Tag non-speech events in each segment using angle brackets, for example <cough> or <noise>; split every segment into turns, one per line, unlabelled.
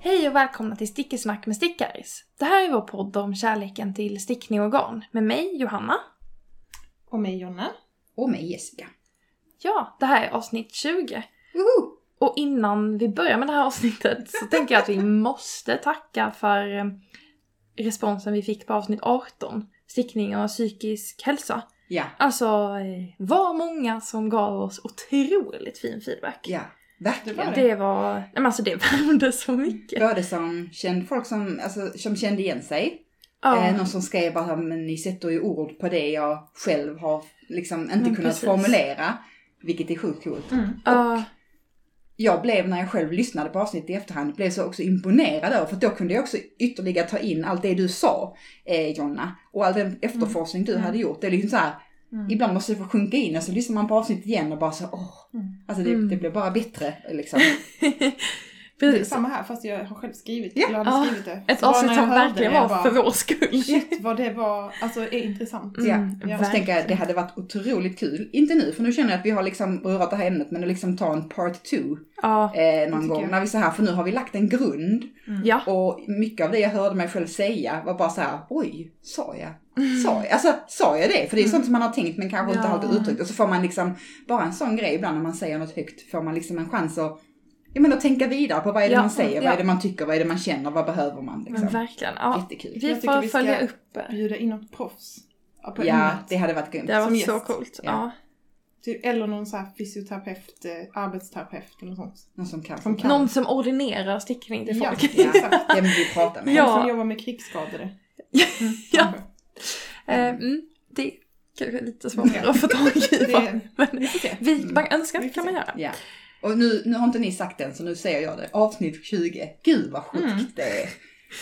Hej och välkomna till Stickesnack med Stickaris. Det här är vår podd om kärleken till stickning och garn med mig, Johanna.
Och mig Jonna.
Och mig Jessica.
Ja, det här är avsnitt 20.
Woho!
Och innan vi börjar med det här avsnittet så tänker jag att vi måste tacka för eh, responsen vi fick på avsnitt 18, stickning och psykisk hälsa.
Ja,
Alltså, eh, var många som gav oss otroligt fin feedback.
ja. Verkligen.
Det var
Det var, nej men alltså det värmde så mycket.
Både som kände, folk som, alltså, som kände igen sig. Eh,
Ja,
någon som skrev bara, men ni sätter ju ord på det jag själv har liksom inte
Men
kunnat
Mm, precis. Mm.
formulera. Vilket är sjukt coolt.
ja,
Jag blev när jag själv lyssnade på avsnittet i efterhand, blev så också imponerad över, för då kunde jag också ytterligare ta in allt det du sa, eh, Jonna. Och all den efterforskning du
Mm.
hade gjort. Det är liksom så här,
Mm.
ibland måste det få sjunka in och så lyssnar man på avsnittet igen och bara så, åh.
Mm.
Alltså det,
Mm.
det blev bara bättre liksom.
<laughs>
Det är
<laughs> precis.
samma här fast jag har själv skrivit,
Ja.
jag hade
Ja.
skrivit det.
Ett
Så bara
avsnitt
när jag
som
hörde
verkligen
det, jag
var för Mm. vår skull.
Shit vad det var, alltså är intressant.
Ja,
jag
Jag tänker att det hade varit otroligt kul, inte nu för nu känner jag att vi har liksom berört det här ämnet men att liksom ta en part two
Ja,
eh, någon
tycker
gång
jag.
när vi så här, för nu har vi lagt en grund
ja.
och mycket av det jag hörde mig själv säga var bara så här, oj, sa jag? Sa jag? Alltså sa jag det? För det är sånt som man har tänkt men kanske inte
Mm. Ja.
alltid uttryckt och så får man liksom bara en sån grej ibland när man säger något högt får man liksom en chans att jag menar, tänka vidare på vad är det
Ja,
man säger,
ja.
vad är det man tycker, vad är det man känner, vad behöver man
Men
liksom.
verkligen. Ja.
Jättekul.
Vi
Jag tycker
får
vi ska-
följa upp.
Bjuda in något proffs på
Ja,
ämnet.
det hade varit grymt.
Det var
Som
så
gäst.
coolt.
Ja.
Ja.
Typ, eller någon så här fysioterapeut, eh, arbetsterapeut eller något sånt.
Någon som kan.
Som kan.
Någon som ordinerar stickning till folk.
Ja, exakt.
Det vill vi prata med.
Ja.
Någon som jobbar med krigsskadade. Mm,
Ja.
kanske.
<laughs> Eh, Mm, det kanske är lite svårare att få tag i. va?
<laughs> Det,
Men
vi får se. Mm.
vi, man önskar kan man göra.
Ja. Och nu, nu har inte ni sagt det än så nu säger jag det. Avsnitt 20. Gud vad sjukt det är.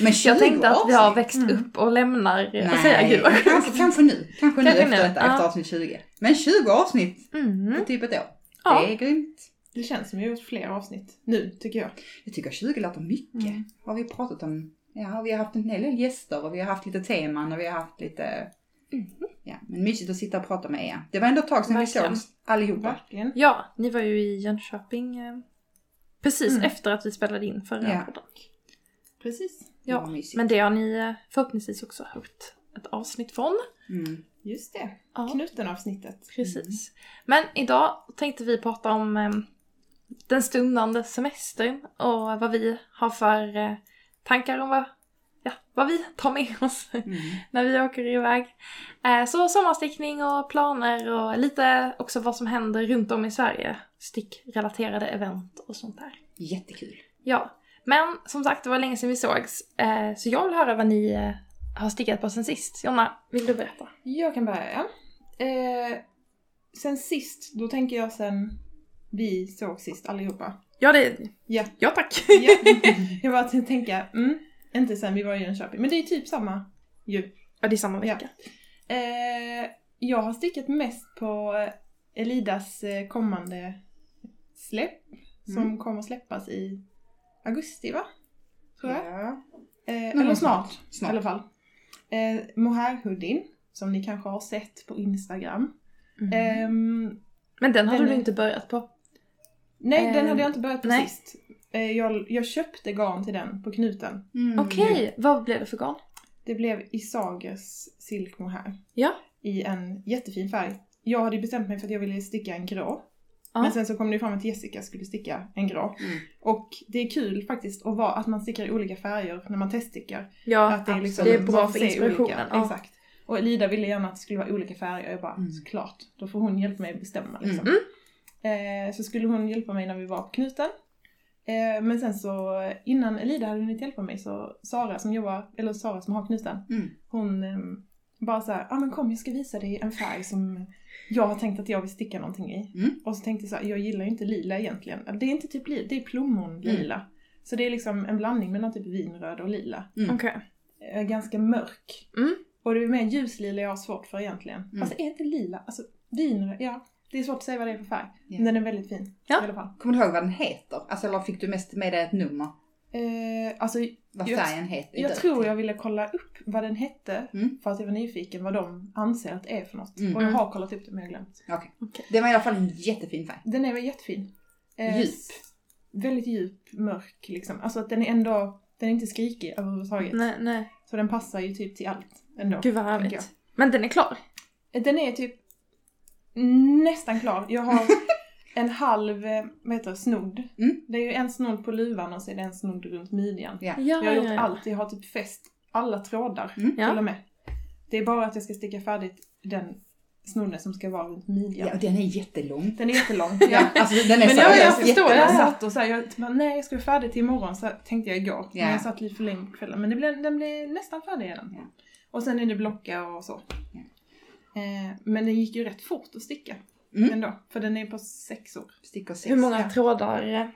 Men 20
Mm. Jag tänkte att vi har
avsnitt?
växt
Mm.
upp och lämnar och säger
Nej,
<laughs>
gud vad
kanske,
sjukt.
kanske nu. Kanske nu
Kanske
efter
nu,
detta,
ja.
efter avsnitt 20. Men 20 avsnitt
Mm.
på typ ett år.
Ja.
Det är grymt.
det känns som vi har gjort fler avsnitt nu, tycker jag.
Jag tycker 20 låter mycket.
Mm.
Har vi pratat om, ja vi har haft en hel del gäster och vi har haft lite teman och vi har haft lite
Mm.
Ja, men mysigt att sitta och prata med er. Det var ändå ett tag sedan vi
Verkligen.
sågs allihopa.
Verkligen.
Ja, ni var ju i Jönköping eh, precis
Mm.
efter att vi spelade in förra
Ja.
podden.
Precis.
Det var
Ja,
mysigt.
men det har ni eh, förhoppningsvis också hört ett avsnitt från.
Mm.
Just det.
Ja.
Knuten-avsnittet.
Precis. Men idag tänkte vi prata om eh, den stundande semestern och vad vi har för eh, tankar om vad, ja, vad vi tar med oss <laughs>
Mm.
när vi åker iväg. Eh, så sommarstickning och planer och lite också vad som händer runt om i Sverige. Stickrelaterade event och sånt där.
Jättekul.
Ja, men som sagt det var länge sedan vi sågs eh, så jag vill höra vad ni eh, har stickat på sen sist. Jonna, vill du berätta?
Jag kan börja. Eh, sen sist, då tänker jag sen vi såg sist allihopa.
Ja, det...
Ja.
ja tack!
Ja. jag bara tänkte tänka, mm, inte sen vi var i Jönköping, men det är typ samma ju.
<laughs> Ja, det är samma vecka.
Eh, jag har stickat mest på Elidas eh, kommande släpp som kommer släppas i augusti va? Tror jag.
Ja.
Eh,
gång
eller snart,
snart.
i alla fall. Eh, Mohair-hoodien som ni kanske har sett på Instagram. Ehm,
Men den hade
Den
du
är-
inte börjat på.
Nej, den
Ehm,
hade jag inte börjat på
nej.
sist. Eh, jag, jag köpte garn till den på knuten.
Mm.
Okej, vad blev det för garn?
Det blev Isagers silk mohair.
Ja.
I en jättefin färg. Jag hade ju bestämt mig för att jag ville sticka en grå.
Ja.
Men sen så kom det ju fram att Jessica skulle sticka en grå.
Mm.
Och det är kul faktiskt att, vara, att man stickar i olika färger när man teststickar.
Ja,
att det är, liksom,
det är bra
man
för
ser
inspirationen.
Olika.
Ja.
Exakt. Och Elida ville gärna att det skulle vara olika färger. Jag bara,
Mm.
såklart. Då får hon hjälpa mig att bestämma liksom.
Mm.
Eh, så skulle hon hjälpa mig när vi var på knuten. Eh, men sen så innan Elida hade hunnit hjälpa mig så Sara som jobbar, eller Sara som har knuten,
Mm.
hon ehm, bara så här, ah, men kom jag ska visa dig en färg som jag har tänkt att jag vill sticka någonting i.
Mm.
Och så tänkte jag så här, jag gillar ju inte lila egentligen. Eller Det är inte typ lila, det är plommonlila. Så det är liksom en blandning mellan typ vinröd och lila.
Mm.
Okej.
Eh, ganska mörk.
Mm.
Och det är mer ljuslila jag har svårt för egentligen.
Mm.
Alltså är inte lila, alltså vinröd, ja. Det är svårt att säga vad det är för färg.
Ja.
Men den är väldigt fin.
Ja.
I alla fall.
Kommer du ihåg vad den heter? Alltså, eller fick du mest med dig ett nummer?
Eh, alltså
Vad
Jag-
färgen heter?
jag tror jag ville kolla upp vad den hette.
Mm.
För att jag var nyfiken vad de anser att det är för något.
Mm.
Och jag har kollat upp det men jag har glömt.
Det var i alla fall en jättefin färg.
Den är väl jättefin.
Djup.
s- Eh, väldigt djup, mörk liksom. Alltså att den är ändå, den är inte skrikig överhuvudtaget.
Nej, nej.
Så den passar ju typ till allt ändå.
Gud vad
tänker jag.
härligt. Men den är klar.
Den är typ nästan klar.
<laughs>
Jag har en halv, eh, vad heter det, snodd.
Mm.
Det är ju en snodd på luvan och så är det en snodd runt midjan.
Ja.
Jag har gjort allt, jag har typ fäst alla trådar
Mm.
till och
Ja.
med. Det är bara att jag ska sticka färdigt den snodden som ska vara runt midjan.
Ja, och den är jättelång.
Den är jättelång.
<laughs> Ja, alltså den är
Men jag, jag
seriöst
förstår, jag
jättelång.
satt och så här, jag typ bara, nej jag ska vara färdig till imorgon, så här tänkte jag igår.
Ja.
Men jag satt lite för länge på kvällen. Men det blev, den blev nästan färdig redan.
Ja.
Och sen är det blocka och så. Eh, men den gick ju rätt fort att sticka
Mm.
ändå, för den är på sexor.
Stickor sex.
Hur många
Ja.
trådar? eh,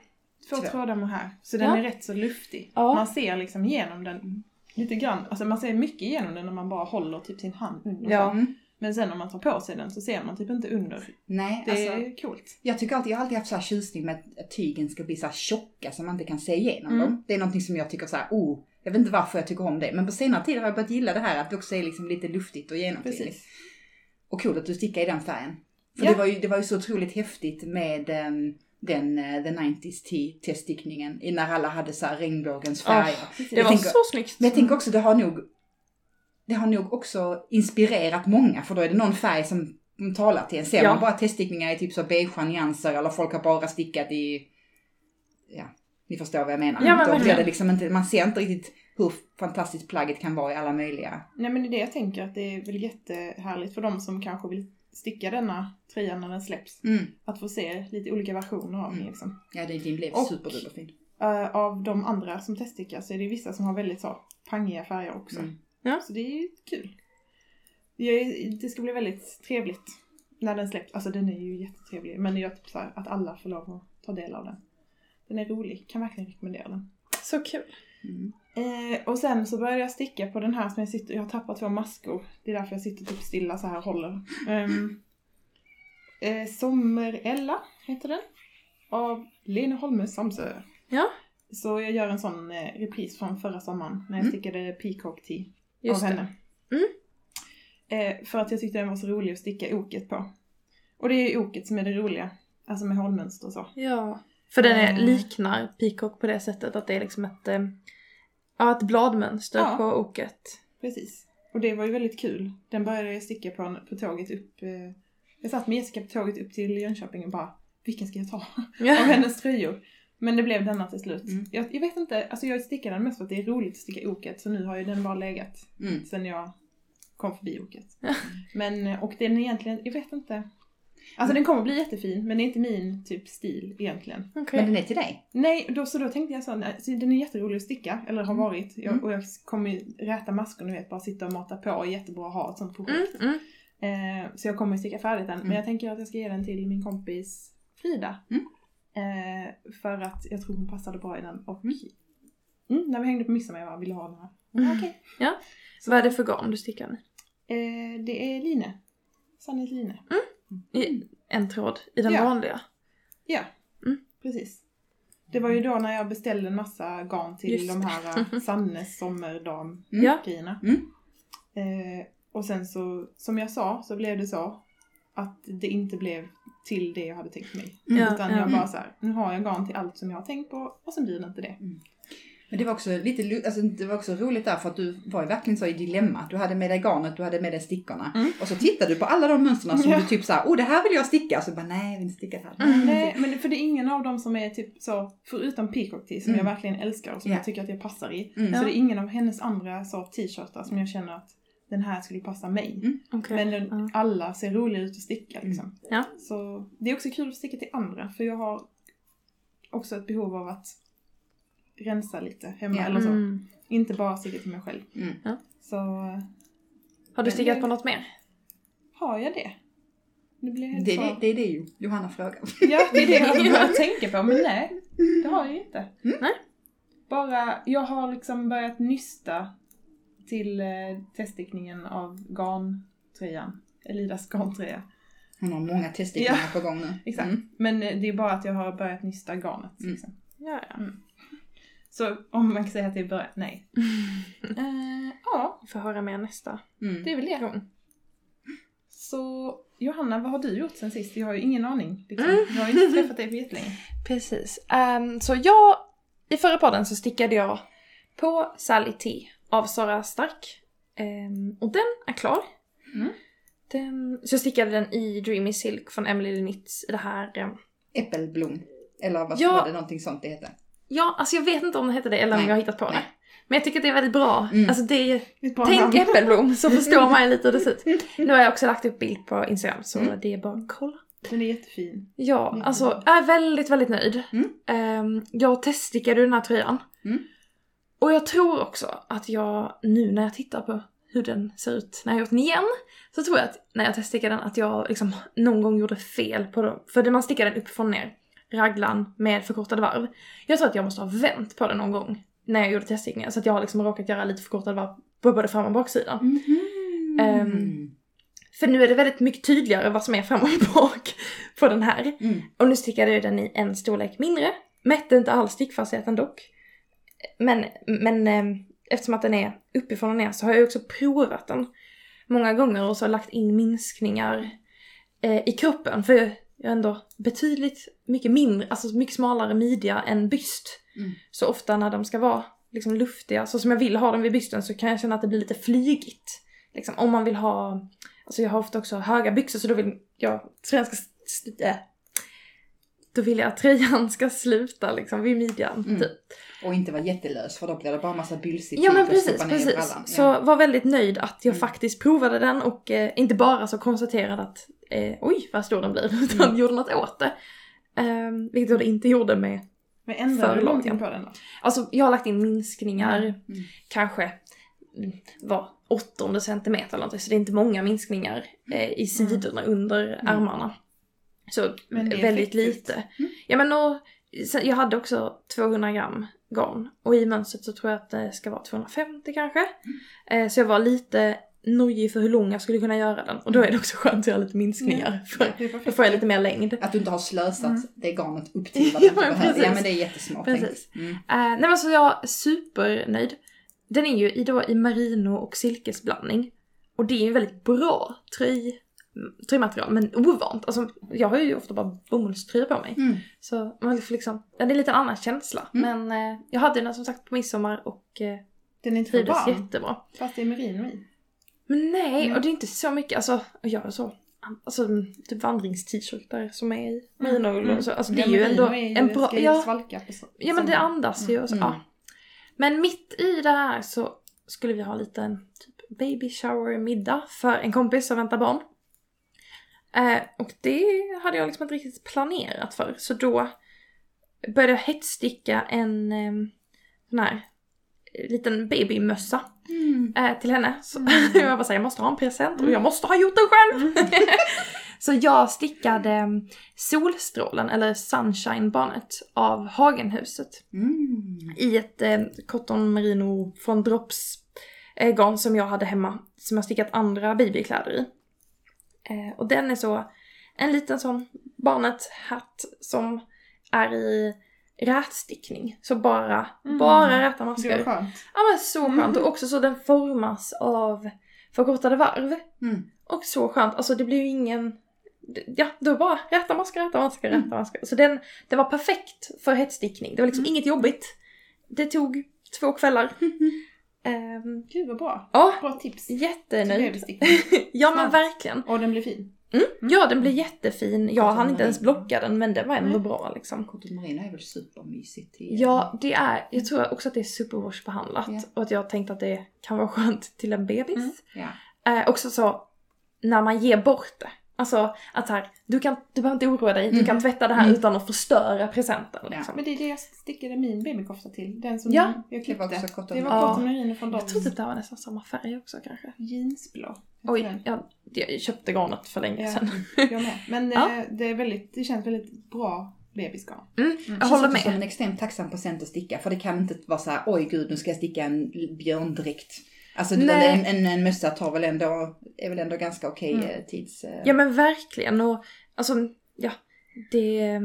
Två
Två.
trådar med här, så den
Ja.
är rätt så luftig.
Ja.
Man ser liksom genom den lite grann, alltså man ser mycket genom den när man bara håller typ sin hand under.
Ja.
Mm.
Men sen om man tar på sig den så ser man typ inte under.
Nej,
Det
alltså.
är coolt.
Jag tycker alltid, jag har alltid haft så här tjusning med att tygen ska bli så här tjocka så man inte kan se igenom
Mm.
dem. Det är någonting som jag tycker så här, oh, jag vet inte varför jag tycker om det. Men på senare tid har jag börjat gilla det här att det också är liksom lite luftigt och genomskinligt.
Precis.
Och kul att du stickar i den färgen. För
Ja.
det, var ju, det var ju så otroligt häftigt med ehm, den eh, The 90s Tea teststickningen i- när alla hade så här regnbågens
Ah,
färger.
Det
Jag
var
tänker-
så snyggt. Mm.
Men jag tänker också, det har nog det har nog också inspirerat många för då är det någon färg som talar till en. Ser
Ja.
man bara teststickningar i typ så beigea nyanser eller folk har bara stickat i, ja, ni förstår vad jag menar.
Ja, men
då blir det
verkligen.
liksom inte, man ser inte riktigt hur fantastiskt plagget kan vara i alla möjliga.
Nej men det är det jag tänker att det är väl jättehärligt för de som kanske vill sticka denna tröja när den släpps.
Mm.
Att få se lite olika versioner av den
Mm.
liksom.
Ja, det din blev
Och-
superduperfin.
Eh, av de andra som teststickar så är det vissa som har väldigt så pangiga färger också.
Mm.
Ja.
Så det är ju kul. Det, är, det ska bli väldigt trevligt när den släpps. Alltså den är ju jättetrevlig men det är ju typ så här, att alla får lov att ta del av den. Den är rolig, kan verkligen rekommendera den.
Så kul.
Mm.
Eh, och sen så började jag sticka på den här som jag sitter, jag har tappat två maskor. Det är därför jag sitter typ stilla så här och håller. Ehm, eh, Sommer-Ella heter den. Av Lena Holme Samsö.
Ja.
Så jag gör en sån eh, repris från förra sommaren när jag
Mm.
stickade Peacock Tea
Just
av
det.
henne.
Mm.
Eh, för att jag tyckte den var så rolig att sticka oket på. Och det är ju oket som är det roliga. Alltså med hålmönster och så.
Ja. För den är,
Mm.
liknar Peacock på det sättet att det är liksom ett, eh, ja, ett bladmönster
Ja.
på oket.
Precis. Och det var ju väldigt kul. Den började jag sticka på, på tåget upp. Eh, jag satt med Jessica på tåget upp till Jönköping och bara Vilken ska jag ta? <laughs> Av hennes tröjor. Men det blev denna till slut.
Mm.
Jag, jag vet inte, alltså jag stickar den mest för att det är roligt att sticka oket. Så nu har ju den bara legat
Mm.
sen jag kom förbi oket. Men, eh, och den är egentligen, jag vet inte. Alltså den kommer bli jättefin men det är inte min typ stil egentligen.
Okej.
Men den är till dig.
Nej, då, så då tänkte jag så, nej, så den är jätterolig att sticka, eller har
Mm.
varit. Jag,
Mm.
och jag kommer ju räta maskor, ni vet, bara sitta och mata på, och jättebra att ha ett sånt projekt.
Mm, mm.
Eh, så jag kommer sticka färdigt den,
Mm.
men jag tänker att jag ska ge den till min kompis Frida.
Mm.
Eh, för att jag tror hon passade bra i den och
Mm.
mm, när vi hängde på midsommar jag bara, ville ha den här. Ah,
Mm.
Okej.
Vad är det för garn du stickar med?
Eh, det är line. Sannolikt line.
I, en tråd i den
Ja.
vanliga?
Ja,
Mm.
precis. Det var ju då när jag beställde en massa garn till
Just
de
det. <laughs>
här eh, Sannes sommardam
Mm.
Ja.
grejerna.
Mm.
Eh, och sen så, som jag sa, så blev det så att det inte blev till det jag hade tänkt mig.
Mm.
Ja,
Utan
ja.
jag bara så här, nu har jag garn till allt som jag har tänkt på och sen blir det inte det.
Men det var också lite, lu- alltså, det var också roligt där för att du var ju verkligen så i dilemma. Du hade med dig garnet, du hade med dig stickorna.
Mm.
Och så tittade du på alla de mönstren som
Ja. Mm.
du typ såhär, oh det här vill jag sticka. Så bara, nej jag vill inte sticka det här. Nej, jag vill
Mm.
inte
Nej, men för det är ingen av dem som är typ så, förutom Peacock Tea som
Mm.
jag verkligen älskar och som
Ja.
jag tycker att jag passar i.
Mm.
Så
Ja.
det är ingen av hennes andra så t-shirtar som jag känner att den här skulle passa mig.
Okej. Mm.
Men den,
Ja. Mm.
alla ser roliga ut att sticka liksom.
Ja.
Så det är också kul att sticka till andra för jag har också ett behov av att rensa lite hemma
Ja.
eller så.
Mm.
Inte bara sticka till mig själv.
Mm.
Ja.
Så eh,
Har du
Men
stickat
det-
på något mer?
har jag det. Det blir helt
Det,
så.
det, det är det ju Johanna frågar.
Ja, det
<laughs>
är det jag börjar tänka på men nej, det har jag ju inte.
Mm.
Nej.
Bara, jag har liksom börjat nysta till eh, teststickningen av garntröjan. Elidas garntröja.
Hon har många teststickningar på gång nu.
Exakt.
Mm.
Men eh, det är bara att jag har börjat nysta garnet.
Mm.
Liksom.
Ja, ja.
Så om man kan säga att det är början,
<laughs>
nej. Eh, ja,
Vi får höra mer nästa
Mm.
det är väl det.
gång.
Så Johanna, vad har du gjort sen sist? Jag har ju ingen aning. Liksom.
Mm.
Jag har ju inte träffat dig
<laughs>
på jättelänge.
Precis. Ehm, så jag, i förra podden så stickade jag på Sally T av Sara Stark. Ehm, och den är klar.
Mm.
Den, så jag stickade den i Dreamy Silk från Emily Lenitz i det här ehm,
Äppelblom. Eller vad
Ja.
var det någonting sånt det hette?
Ja, alltså jag vet inte om det heter det eller om
Nej.
jag har hittat på det.
Nej.
Men jag tycker att det är väldigt bra.
Mm.
Alltså det är,
Mitt
<laughs>
bra
tänk
namn.
äppelblom så förstår man ju lite hur det ser ut. Nu har jag också lagt upp bild på Instagram så
Mm.
det är bara att kolla.
Den är jättefin.
Ja,
Jättebra.
alltså jag är väldigt, väldigt nöjd.
Mm.
Ehm, jag teststickade den här tröjan.
Mm.
Och jag tror också att jag nu när jag tittar på hur den ser ut när jag gjort den igen så tror jag att när jag teststickade den att jag liksom någon gång gjorde fel på dem. För det- man stickar den uppifrån och ner, raglan med förkortade varv. Jag tror att jag måste ha vänt på den någon gång när jag gjorde teststickningen så att jag har liksom råkat göra lite förkortade varv på både fram och baksidan.
Mm.
Ehm, För nu är det väldigt mycket tydligare vad som är fram och bak på den här.
Mm.
Och nu stickade jag den i en storlek mindre. Mätte inte alls stickfastheten dock. Men, men eh, eftersom att den är uppifrån och ner så har jag också provat den många gånger och så lagt in minskningar eh, i kroppen. För jag har ändå betydligt mycket mindre, alltså mycket smalare midja än byst.
Mm.
Så ofta när de ska vara liksom luftiga, så som jag vill ha dem vid bysten så kan jag känna att det blir lite flygigt. Liksom, om man vill ha, alltså jag har ofta också höga byxor så då vill jag, så jag ska, s- äh, då vill jag att tröjan ska sluta liksom vid midjan.
Mm.
Typ.
Och inte vara jättelös för då blir det bara massa bylsigt
Ja men
tyg att
precis,
stoppa ner i
precis.
brallan.
Så
Ja.
var väldigt nöjd att jag
Mm.
faktiskt provade den och eh, inte bara så konstaterade att eh, oj vad stor den blir <laughs> utan
Mm.
gjorde något åt det. Ehm, vilket jag inte gjorde med.
Men ändrar du
Förlagen.
någonting på den då?
Alltså jag har lagt in minskningar
Mm.
kanske mm, var åttonde centimeter eller någonting så det är inte många minskningar eh, i sidorna under armarna. Så
Men det är
väldigt
effektivt.
lite.
Mm.
Ja men och, sen- jag hade också 200 gram garn och i mönstret så tror jag att det ska vara 250 kanske. Eh, så jag var lite nojig för hur lång jag skulle kunna göra den och då är det också skönt att göra lite minskningar för
Det är
då
perfekt.
får jag lite mer längd.
Att du inte har slösat
Mm.
det garnet upp till vad
<laughs>
du
Ja,
inte
men
behöver. Ja
precis.
men det är jättesmart
Precis.
tänkt. Mm.
Eh, nej men så jag är supernöjd. Den är ju i, då, i merino och silkesblandning. Och det är ju väldigt bra tröj, tröjmaterial men ovant. Alltså, jag har ju ofta bara bomullströja på mig.
Mm.
Så man får liksom, ja, det är lite annan känsla.
Mm.
Men eh, jag hade den som sagt på midsommar och eh,
Den är inte för
trivdes
varm,
jättebra.
fast det är merino i.
Men nej,
Nej.
och det är inte så mycket, alltså och jag har så, alltså typ vandringst-shirtar som är i merino
Mm.
och så. Alltså det
Ja,
är ju
merino
ändå
är
en
ju-
bra,
ska ju
ja,
svalka på så-
Ja men det
sommaren.
andas ju och så.
Mm.
Ja. Men mitt i det här så skulle vi ha lite en typ baby shower middag för en kompis som väntar barn. Eh, och det hade jag liksom inte riktigt planerat för. Så då började jag hetssticka en eh, sån här eh, liten babymössa
Mm.
eh, till henne. Så
Mm.
<laughs> jag bara säger jag måste ha en present och jag måste ha gjort den själv! <laughs> så jag stickade eh, Solstrålen, eller Sunshine Bonnet, av Hagenhuset
Mm.
i ett eh, cotton merino från Drops eh, garn som jag hade hemma som jag stickat andra babykläder i. Eh, och den är så en liten sån barnet hatt som är i rätstickning. Så bara,
Mm.
bara räta
Det var
maskar.
skönt.
Ja men så skönt och också så den formas av förkortade varv.
Mm.
Och så skönt, alltså det blir ju ingen... Ja, det var bara rätta maskar, rätta maskar,
Mm.
rätta maskar. Så den, den var perfekt för hetsstickning. Det var liksom
Mm.
inget jobbigt. Det tog två
<laughs>
kvällar. Ehm,
Gud vad bra.
Ja,
Bra tips. Till
jättenöjd.
babystickning.
Ja men
Snabbt. Mm.
verkligen.
Och den blir fin.
Ja, den blev jättefin. Jag
Alltså,
hann
den
inte
är-
ens blocka den men den var ändå
Nej.
bra liksom.
Cotton Marina är väl supermysigt? till-
Ja, det är, jag tror också att det är superwash-behandlat.
Ja.
Och att jag tänkte att det kan vara skönt till en bebis.
Mm.
Ja.
Eh, också så, när man ger bort det. Alltså att så här, du, kan, du behöver inte oroa dig, du
Mm.
kan tvätta det här
Mm.
utan att förstöra presenten.
Ja.
Liksom.
Men det är det jag stickade min babykofta till. Den som
Ja.
jag
Det var
klippte.
också cotton
Det var
Ja.
cotton merino från dem.
Jag tror typ det var nästan samma färg också kanske.
Jeansblå. heter
Oj,
den.
jag, jag köpte garnet för länge
Ja.
sedan.
Jag med. Men
Ja.
eh, det, är väldigt, det känns väldigt bra bebisgarn.
Mm,
Mm.
jag håller
Känns också som
med.
en extremt tacksam procent att sticka för det kan inte vara så här, oj gud nu ska jag sticka en björndräkt. Alltså du,
Nej.
en, en, en mössa tar väl ändå, är väl ändå ganska okej
Mm.
eh, tids... eh,
Ja men verkligen och alltså, ja, det...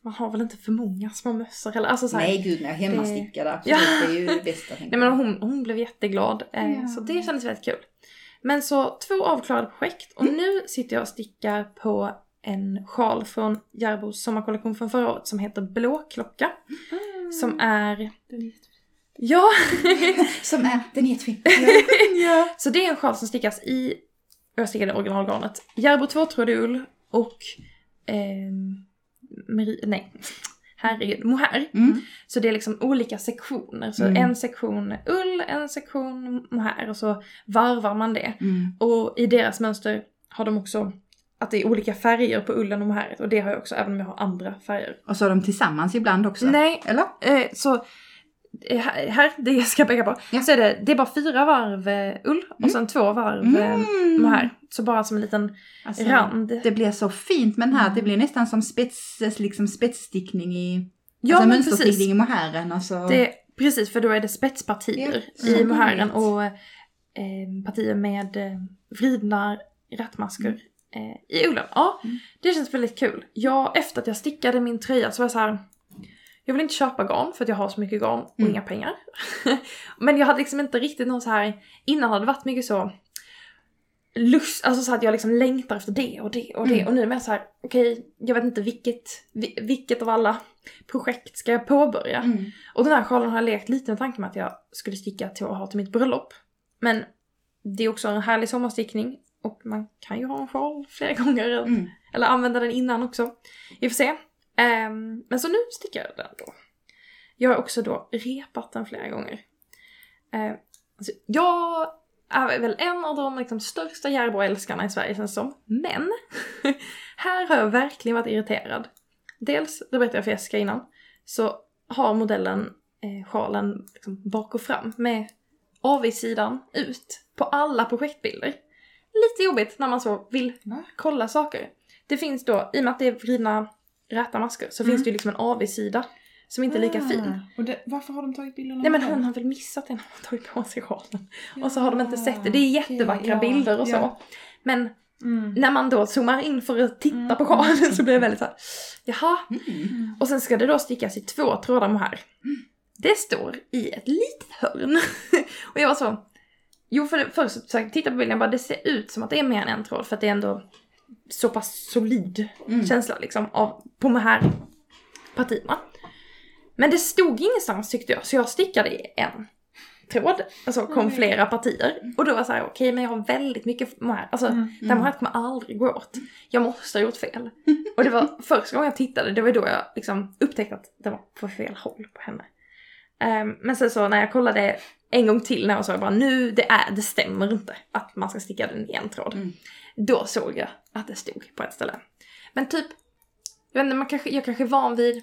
Man har väl inte för många små mössor eller alltså så här,
nej gud, när jag hemmastickar det... absolut,
Ja.
det är ju det bästa. tänker
Nej men
jag.
hon, hon blev jätteglad, eh,
Ja.
så det kändes väldigt kul. Men så två avklarade projekt och
Mm.
nu sitter jag och stickar på en sjal från Järbos sommarkollektion från förra året som heter Blåklocka.
Mm.
Som är...
Den är jättefin.
Ja!
Som är, den
<laughs>
är jättefin.
<laughs> ja.
så det är en sjal som stickas i... Jag stickade originalgarnet. Järbo tvåtrådig ull och... ehm, meri, nej. Herregud, mohair.
Mm.
Så det är liksom olika sektioner. Så
Mm.
en sektion ull, en sektion mohair och så varvar man det.
Mm.
Och i deras mönster har de också att det är olika färger på ullen och mohairet. Och det har jag också, även om jag har andra färger.
Och så är de tillsammans ibland också.
Nej,
Eller?
eh, så eh, här, här, det jag ska peka på,
Ja.
så är det, det är bara fyra varv eh, ull
Mm.
och sen två varv eh, mohair. Så bara som en liten
Alltså,
rand.
Det blir så fint med den här,
Mm.
det blir nästan som spets, liksom spetsstickning i...
ja
alltså
men precis.
mönsterstickning i mohairen. Alltså.
Det, precis, för då är det spetspartier
Ja,
i
så
mohairen
roligt.
och eh, partier med eh, vridna rattmasker eh, i ullen. Ja,
Mm.
det känns väldigt kul. Jag, efter att jag stickade min tröja så var jag så här. Jag vill inte köpa garn för att jag har så mycket garn och
Mm.
inga pengar. <laughs> Men jag hade liksom inte riktigt någon så här, innan hade det varit mycket så lust, alltså så att jag liksom längtar efter det och det och det.
Mm.
Och nu är jag så här, okej, jag vet inte vilket, vi- vilket av alla projekt ska jag påbörja?
Mm.
Och den här sjalen har jag lekt lite med tanken med att jag skulle sticka till och ha till mitt bröllop. Men det är också en härlig sommarstickning och man kan ju ha en sjal flera <laughs> gånger.
Mm.
Eller använda den innan också. Vi får se. Ehm, men så nu stickar jag den då. Jag har också då repat den flera gånger. Ehm, alltså, jag är väl en av de liksom, största Järboälskarna i Sverige känns det som. Men! <laughs> här har jag verkligen varit irriterad. Dels, det berättade jag för Jessica innan, så har modellen eh, sjalen liksom, bak och fram med avigsidan ut på alla projektbilder. Lite jobbigt när man så vill
Va?
kolla saker. Det finns då, i och med att det är vridna räta masker, så
Mm.
finns det ju liksom en avigsida som inte är lika fin.
Ah. Och det, varför har de tagit bilderna
Nej men
med
hon
dem?
har väl missat det när hon har tagit på sig sjalen.
Ja,
och så har de inte sett det. Det är
okej,
jättevackra
ja,
bilder och
ja.
så. Men
Mm.
när man då zoomar in för att titta
Mm.
på sjalen <laughs> så blir det väldigt såhär, jaha.
Mm.
Mm.
Och sen ska det då stickas i två trådar mohair. Det står i ett litet hörn. <laughs> och jag var så... Jo, för det, först så försökte jag titta på bilden bara det ser ut som att det är mer än en tråd för att det är ändå så pass solid
Mm.
känsla liksom av, på de här partierna. Men det stod ingenstans tyckte jag så jag stickade i en tråd. Alltså kom
Mm.
flera partier. Och då var jag så här: okej men jag har väldigt mycket mohair. Alltså
Mm.
den här kommer aldrig gå åt. Jag måste ha gjort fel. Och det var första gången jag tittade, det var då jag liksom upptäckte att det var på fel håll på henne. Ehm, men sen så när jag kollade en gång till när jag såg bara nu, det, är, det stämmer inte att man ska sticka den i en tråd.
Mm.
Då såg jag att det stod på ett ställe. Men typ, jag vet inte, man kanske, jag kanske är van vid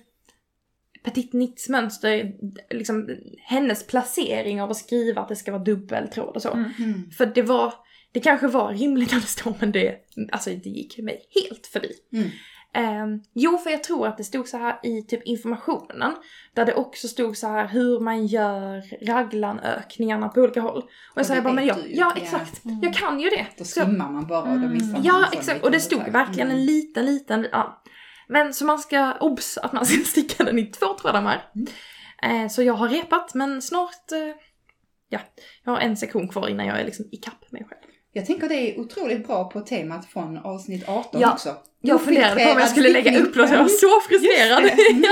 Petit Nits mönster, liksom hennes placering av att skriva att det ska vara dubbeltråd och så.
Mm.
Mm.
För det var, det kanske var rimligt att det stod men det, alltså det gick mig helt förbi.
Mm.
Ehm, jo, för jag tror att det stod så här i typ informationen, där det också stod så här hur man gör raglanökningarna på olika håll. Och jag
Och
säger
det
bara, men
vet
jag,
du ju.
ja
Ja.
exakt,
Mm.
jag kan ju det.
Då
Så jag-
svimmar man bara och då missar man liksom en
Ja,
sån
exakt.
liten
Och det stod
detalj. Mm.
verkligen en liten, liten, ja. Men så man ska obs att man ska <laughs> sticka den i två trådar med.
Mm.
Eh, så jag har repat, men snart, eh, ja, jag har en sektion kvar innan jag är liksom ikapp mig själv.
Jag tänker det är otroligt bra på temat från avsnitt 18
Ja.
också.
Jag funderade på om jag
Ofiltrerad
skulle lägga upp
stickning.
låten, jag var så frustrerad.
eh, Just det. Mm.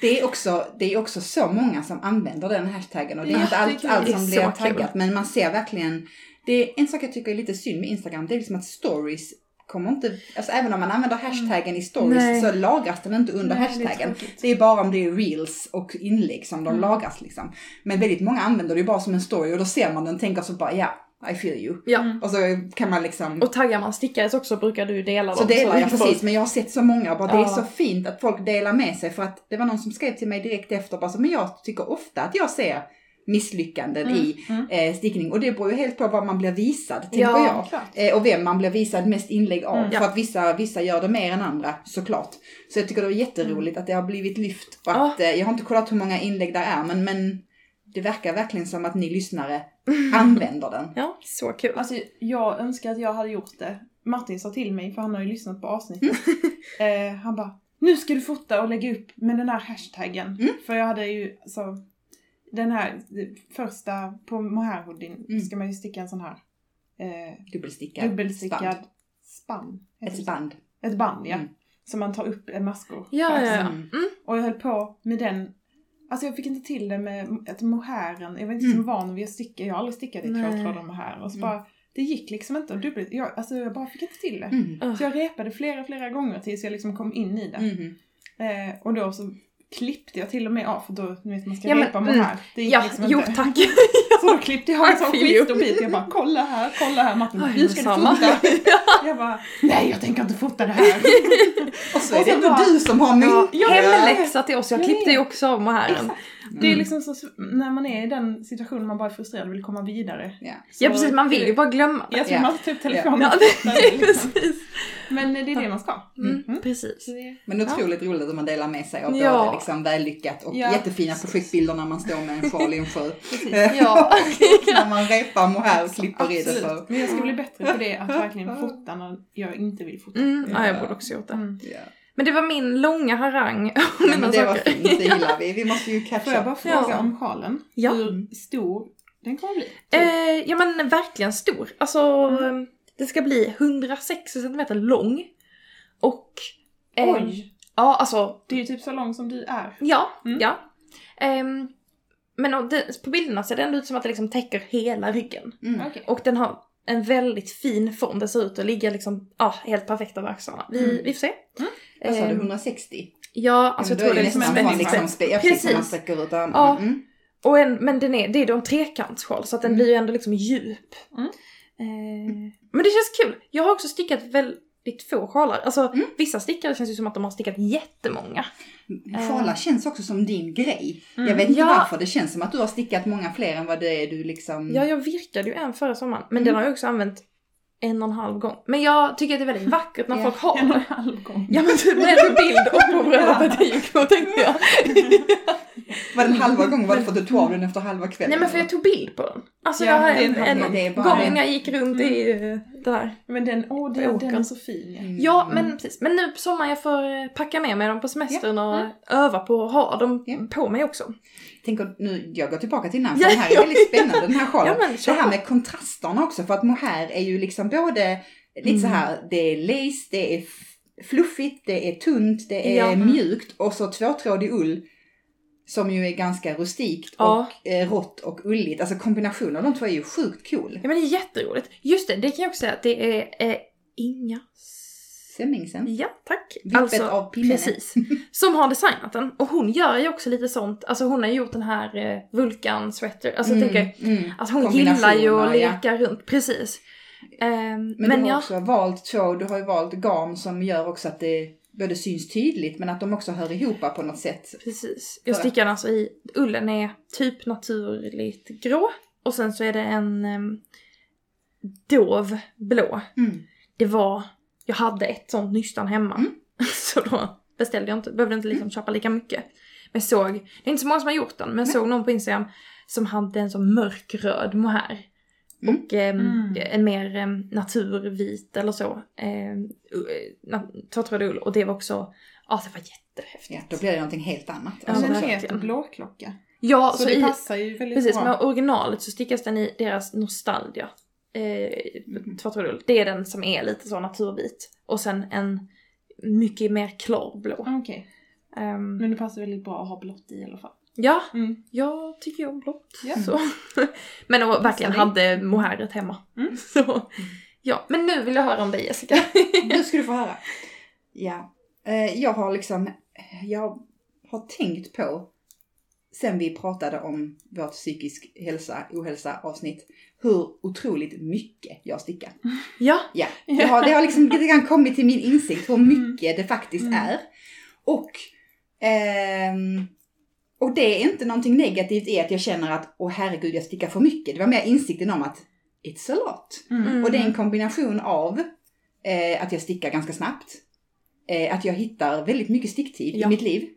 Det är, också, det är också så många som använder den hashtaggen och det är inte allt,
Jättekul.
allt
Det är
som
så
blir
kul.
taggat men man ser verkligen. Det är en sak jag tycker är lite synd med Instagram det är liksom att stories kommer inte, alltså även om man använder hashtaggen i stories
Mm. Nej.
så lagras den inte under
Nej, det är
hashtaggen.
tråkigt.
Det är bara om det är reels och inlägg som de
Mm.
lagras liksom. Men väldigt många använder det ju bara som en story och då ser man den och tänker så bara ja, I feel you.
Ja.
Mm.
Och så kan man liksom
Och taggar man stickares också brukar du dela
så
dem.
delar jag
att
precis,
folk-
men jag har sett så många och bara det är
Ja.
så fint att folk delar med sig för att det var någon som skrev till mig direkt efter bara så, men jag tycker ofta att jag ser misslyckanden i
Mm.
eh, stickning och det beror ju helt på vad man blir visad, tänker
Ja,
jag.
klart.
Eh, och vem man blir visad mest inlägg av,
Mm.
för att vissa, vissa gör det mer än andra såklart. Så jag tycker det är jätteroligt
Mm.
att det har blivit lyft och att, eh, jag har inte kollat hur många inlägg där är men, men det verkar verkligen som att ni
<laughs>
lyssnare använder den.
Ja, så kul.
Alltså jag önskar att jag hade gjort det. Martin sa till mig, för han har ju lyssnat på avsnittet. eh, han bara, nu ska du fota och lägga upp med den här hashtaggen. För jag hade ju alltså, den här det första på mohair hoodien
Mm.
ska man ju sticka en sån här eh,
Dubbelstickad.
dubbelstickad
Spann.
spann. heter det
Ett
så?
band.
Ett band ja.
Mm.
Som man tar upp eh, maskor på
Ja, ja, ja.
axeln.
Mm.
Och jag höll på med den Alltså jag fick inte till det med att mohären, jag var inte
Mm.
så van vid att sticka, jag har aldrig stickat i
Nej.
trådtråd och mohair. Och så
Mm.
bara, det gick liksom inte att dubbel, jag, alltså jag bara fick inte till det.
Mm.
Ugh.
Så jag repade flera, flera gånger tills jag liksom kom in i det.
Mhm.
Mm.
Eh, och då så klippte jag till och med av, för då, ni vet man ska
Ja, men,
repa
mm.
mohair. Det
<laughs>
gick
Ja,
liksom
jo
inte.
tack.
Så då klippte jag en sån
I feel you.
skitstor bit, jag bara kolla här, kolla här Martin,
Oj,
nu ska du
samma.
fota. <laughs> Jag bara, nej jag tänker inte fota
<laughs>
det här.
Och så är det
sen
ändå
bara-
du som har
Ja,
mynt.
hemläxa till oss, jag
Jag
klippte
vet.
ju också av mohären.
Det är liksom så, när man är i den situationen man bara är frustrerad och vill komma vidare.
Ja.
Så-
Ja precis, man vill ju bara glömma.
Jag tror
Ja.
man tar upp telefonen.
Ja, <laughs>
Liksom.
precis.
Men det är det man ska.
Mm,
Mm.
precis.
Så det-
Men otroligt roligt att man delar med sig av
Ja.
både liksom vällyckat och
Ja.
jättefina projektbilder när man står med en sjal i en sjö. <laughs>
Ja.
när man repar mohair och klipper i det för.
Absolut. Men jag ska bli bättre på det, att verkligen fota när jag inte vill fota.
Mm, ja, jag borde också gjort det.
Mm.
Ja.
Men det var min långa harang om
Men
mina
det var
saker.
fint, det gillar vi. Vi måste ju
Får jag
catcha.
bara fråga
Ja.
om sjalen?
Ja.
Hur stor den kommer bli? Typ.
Eh, ja men verkligen stor. Alltså,
Mm.
eh, det ska bli 160 cm lång. Och... eh,
Oj!
Ja, alltså,
Det är ju typ så lång som du är.
ja,
Mm.
ja. Ehm, men och det, på bilderna ser det ändå ut som att det liksom täcker hela ryggen.
Mm.
Okej.
Och den har en väldigt fin form, den ser ut att ligga liksom, ja, helt perfekt över axlarna. Vi,
Mm.
vi får se.
Mm.
Vad sa du,
Ehm,
160?
Ja, alltså jag
Men då
tror det är
är ju
liksom en
nästan
väldigt
som liksom, spe- ja, precis. som man
Precis.
sträcker ut armarna.
Ja.
Mm.
Och en, men den är, det är då en trekantssjal så att den
Mm.
blir ju ändå liksom djup.
Mm.
Eh, men det känns kul. Jag har också stickat väldigt få sjalar. Alltså
Mm.
vissa stickare känns ju som att de har stickat jättemånga.
Sjalar känns också som din grej.
Mm.
Jag vet inte
Ehm. Ja.
varför, det känns som att du har stickat många fler än vad det är du liksom...
Ja, jag virkade ju en förra sommaren men
Mm.
den har jag också använt en och en halv gång. Men jag tycker att det är väldigt vackert när
Ja.
folk <laughs>
En och en
har.
halv gång.
Ja men typ med en bild och på bröllopet tänkte jag.
Var den halva gången var det för att du tog av den efter halva kvällen?
Mm. Nej men för jag tog bild på den. Alltså
Ja,
jag har
det är en
en,
halv
en
gång. Det är bara
gång
en-
när jag gick runt i eh, det här.
Men den, åh
Jag
den,
åker.
den är så fin. Ja.
Mm.
Ja, men precis. Men nu på sommaren jag får eh, packa med mig dem på semestern och öva på att ha dem
Ja.
på mig också.
Tänk att nu, jag går tillbaka till den här, för
Ja,
den här är
jag
väldigt spännande den här sjalen.
Ja, men kör
det här
på.
med kontrasterna också för att mohair är ju liksom både lite så
Mm.
här, det är lace, det är f- fluffigt, det är tunt, det är
Ja.
mjukt och så tvåtrådig ull som ju är ganska rustikt
Ja.
och eh, rått och ulligt. Alltså kombinationen av de två är ju sjukt cool.
Ja men det är jätteroligt. Just det, det kan jag också säga att det är eh, Inga...
Semmingsen.
Ja, tack. Alltså-
Vippet av pinnen.
Precis. Som har designat den. Och hon gör ju också lite sånt, alltså hon har gjort den här eh, Vulkan Sweater, alltså jag tänker
mm.
att hon gillar ju att
Kombinationer, ja.
leka runt, precis. Ehm, men
Men, du har
ja,
också valt två, du har ju valt garn som gör också att det både syns tydligt men att de också hör ihop på något sätt.
precis. Jag stickar den alltså i, ullen är typ naturligt grå och sen så är det en ehm, dov blå
Mm.
det var, jag hade ett sånt nystan hemma.
Mm.
<laughs> Så då beställde jag inte, behövde inte
Mm.
liksom köpa lika mycket. Men såg, det är inte så många som har gjort den, men såg någon på Instagram som hade en sån mörkröd mohair.
Mm.
Och ehm,
Mm.
en mer ehm, naturvit eller så. Ehm, u- nat- Tvåtrådig ull. Och det var också, ja det var
Ja,
jättehäftigt.
då blir det någonting helt annat. Alltså,
Ja,
Men den
verkligen.
heter Blåklocka.
Ja,
Så,
så,
det
i,
passar ju väldigt
precis,
bra.
med originalet så stickas den i deras nostalgia. Eh, Tvåtrådig ull. Det är den som är lite så naturvit. Och sen en mycket mer klarblå.
Okej,
Ehm,
men det passar väldigt bra att ha blått i i alla fall.
ja,
Mm.
jag tycker ju om blått.
Ja.
Så. <laughs> men jag verkligen
Passar
hade mohairet hemma. <laughs>
Mm.
Så. Ja, men nu vill jag höra om dig Jessica.
Nu ska du få höra. Ja. Eh, Jag har liksom, jag har tänkt på sen vi pratade om vårt psykisk hälsa, ohälsa avsnitt, hur otroligt mycket jag stickar.
<laughs> ja,
Ja, det har, det har liksom lite grann kommit till min insikt hur mycket det faktiskt
Mm.
är. Och, ehm, och det är inte någonting negativt i att jag känner att åh herregud jag stickar för mycket. Det var mer insikten om att it's a lot.
Mm.
Och det är en kombination av eh, att jag stickar ganska snabbt, eh, att jag hittar väldigt mycket sticktid
Ja.
i mitt liv.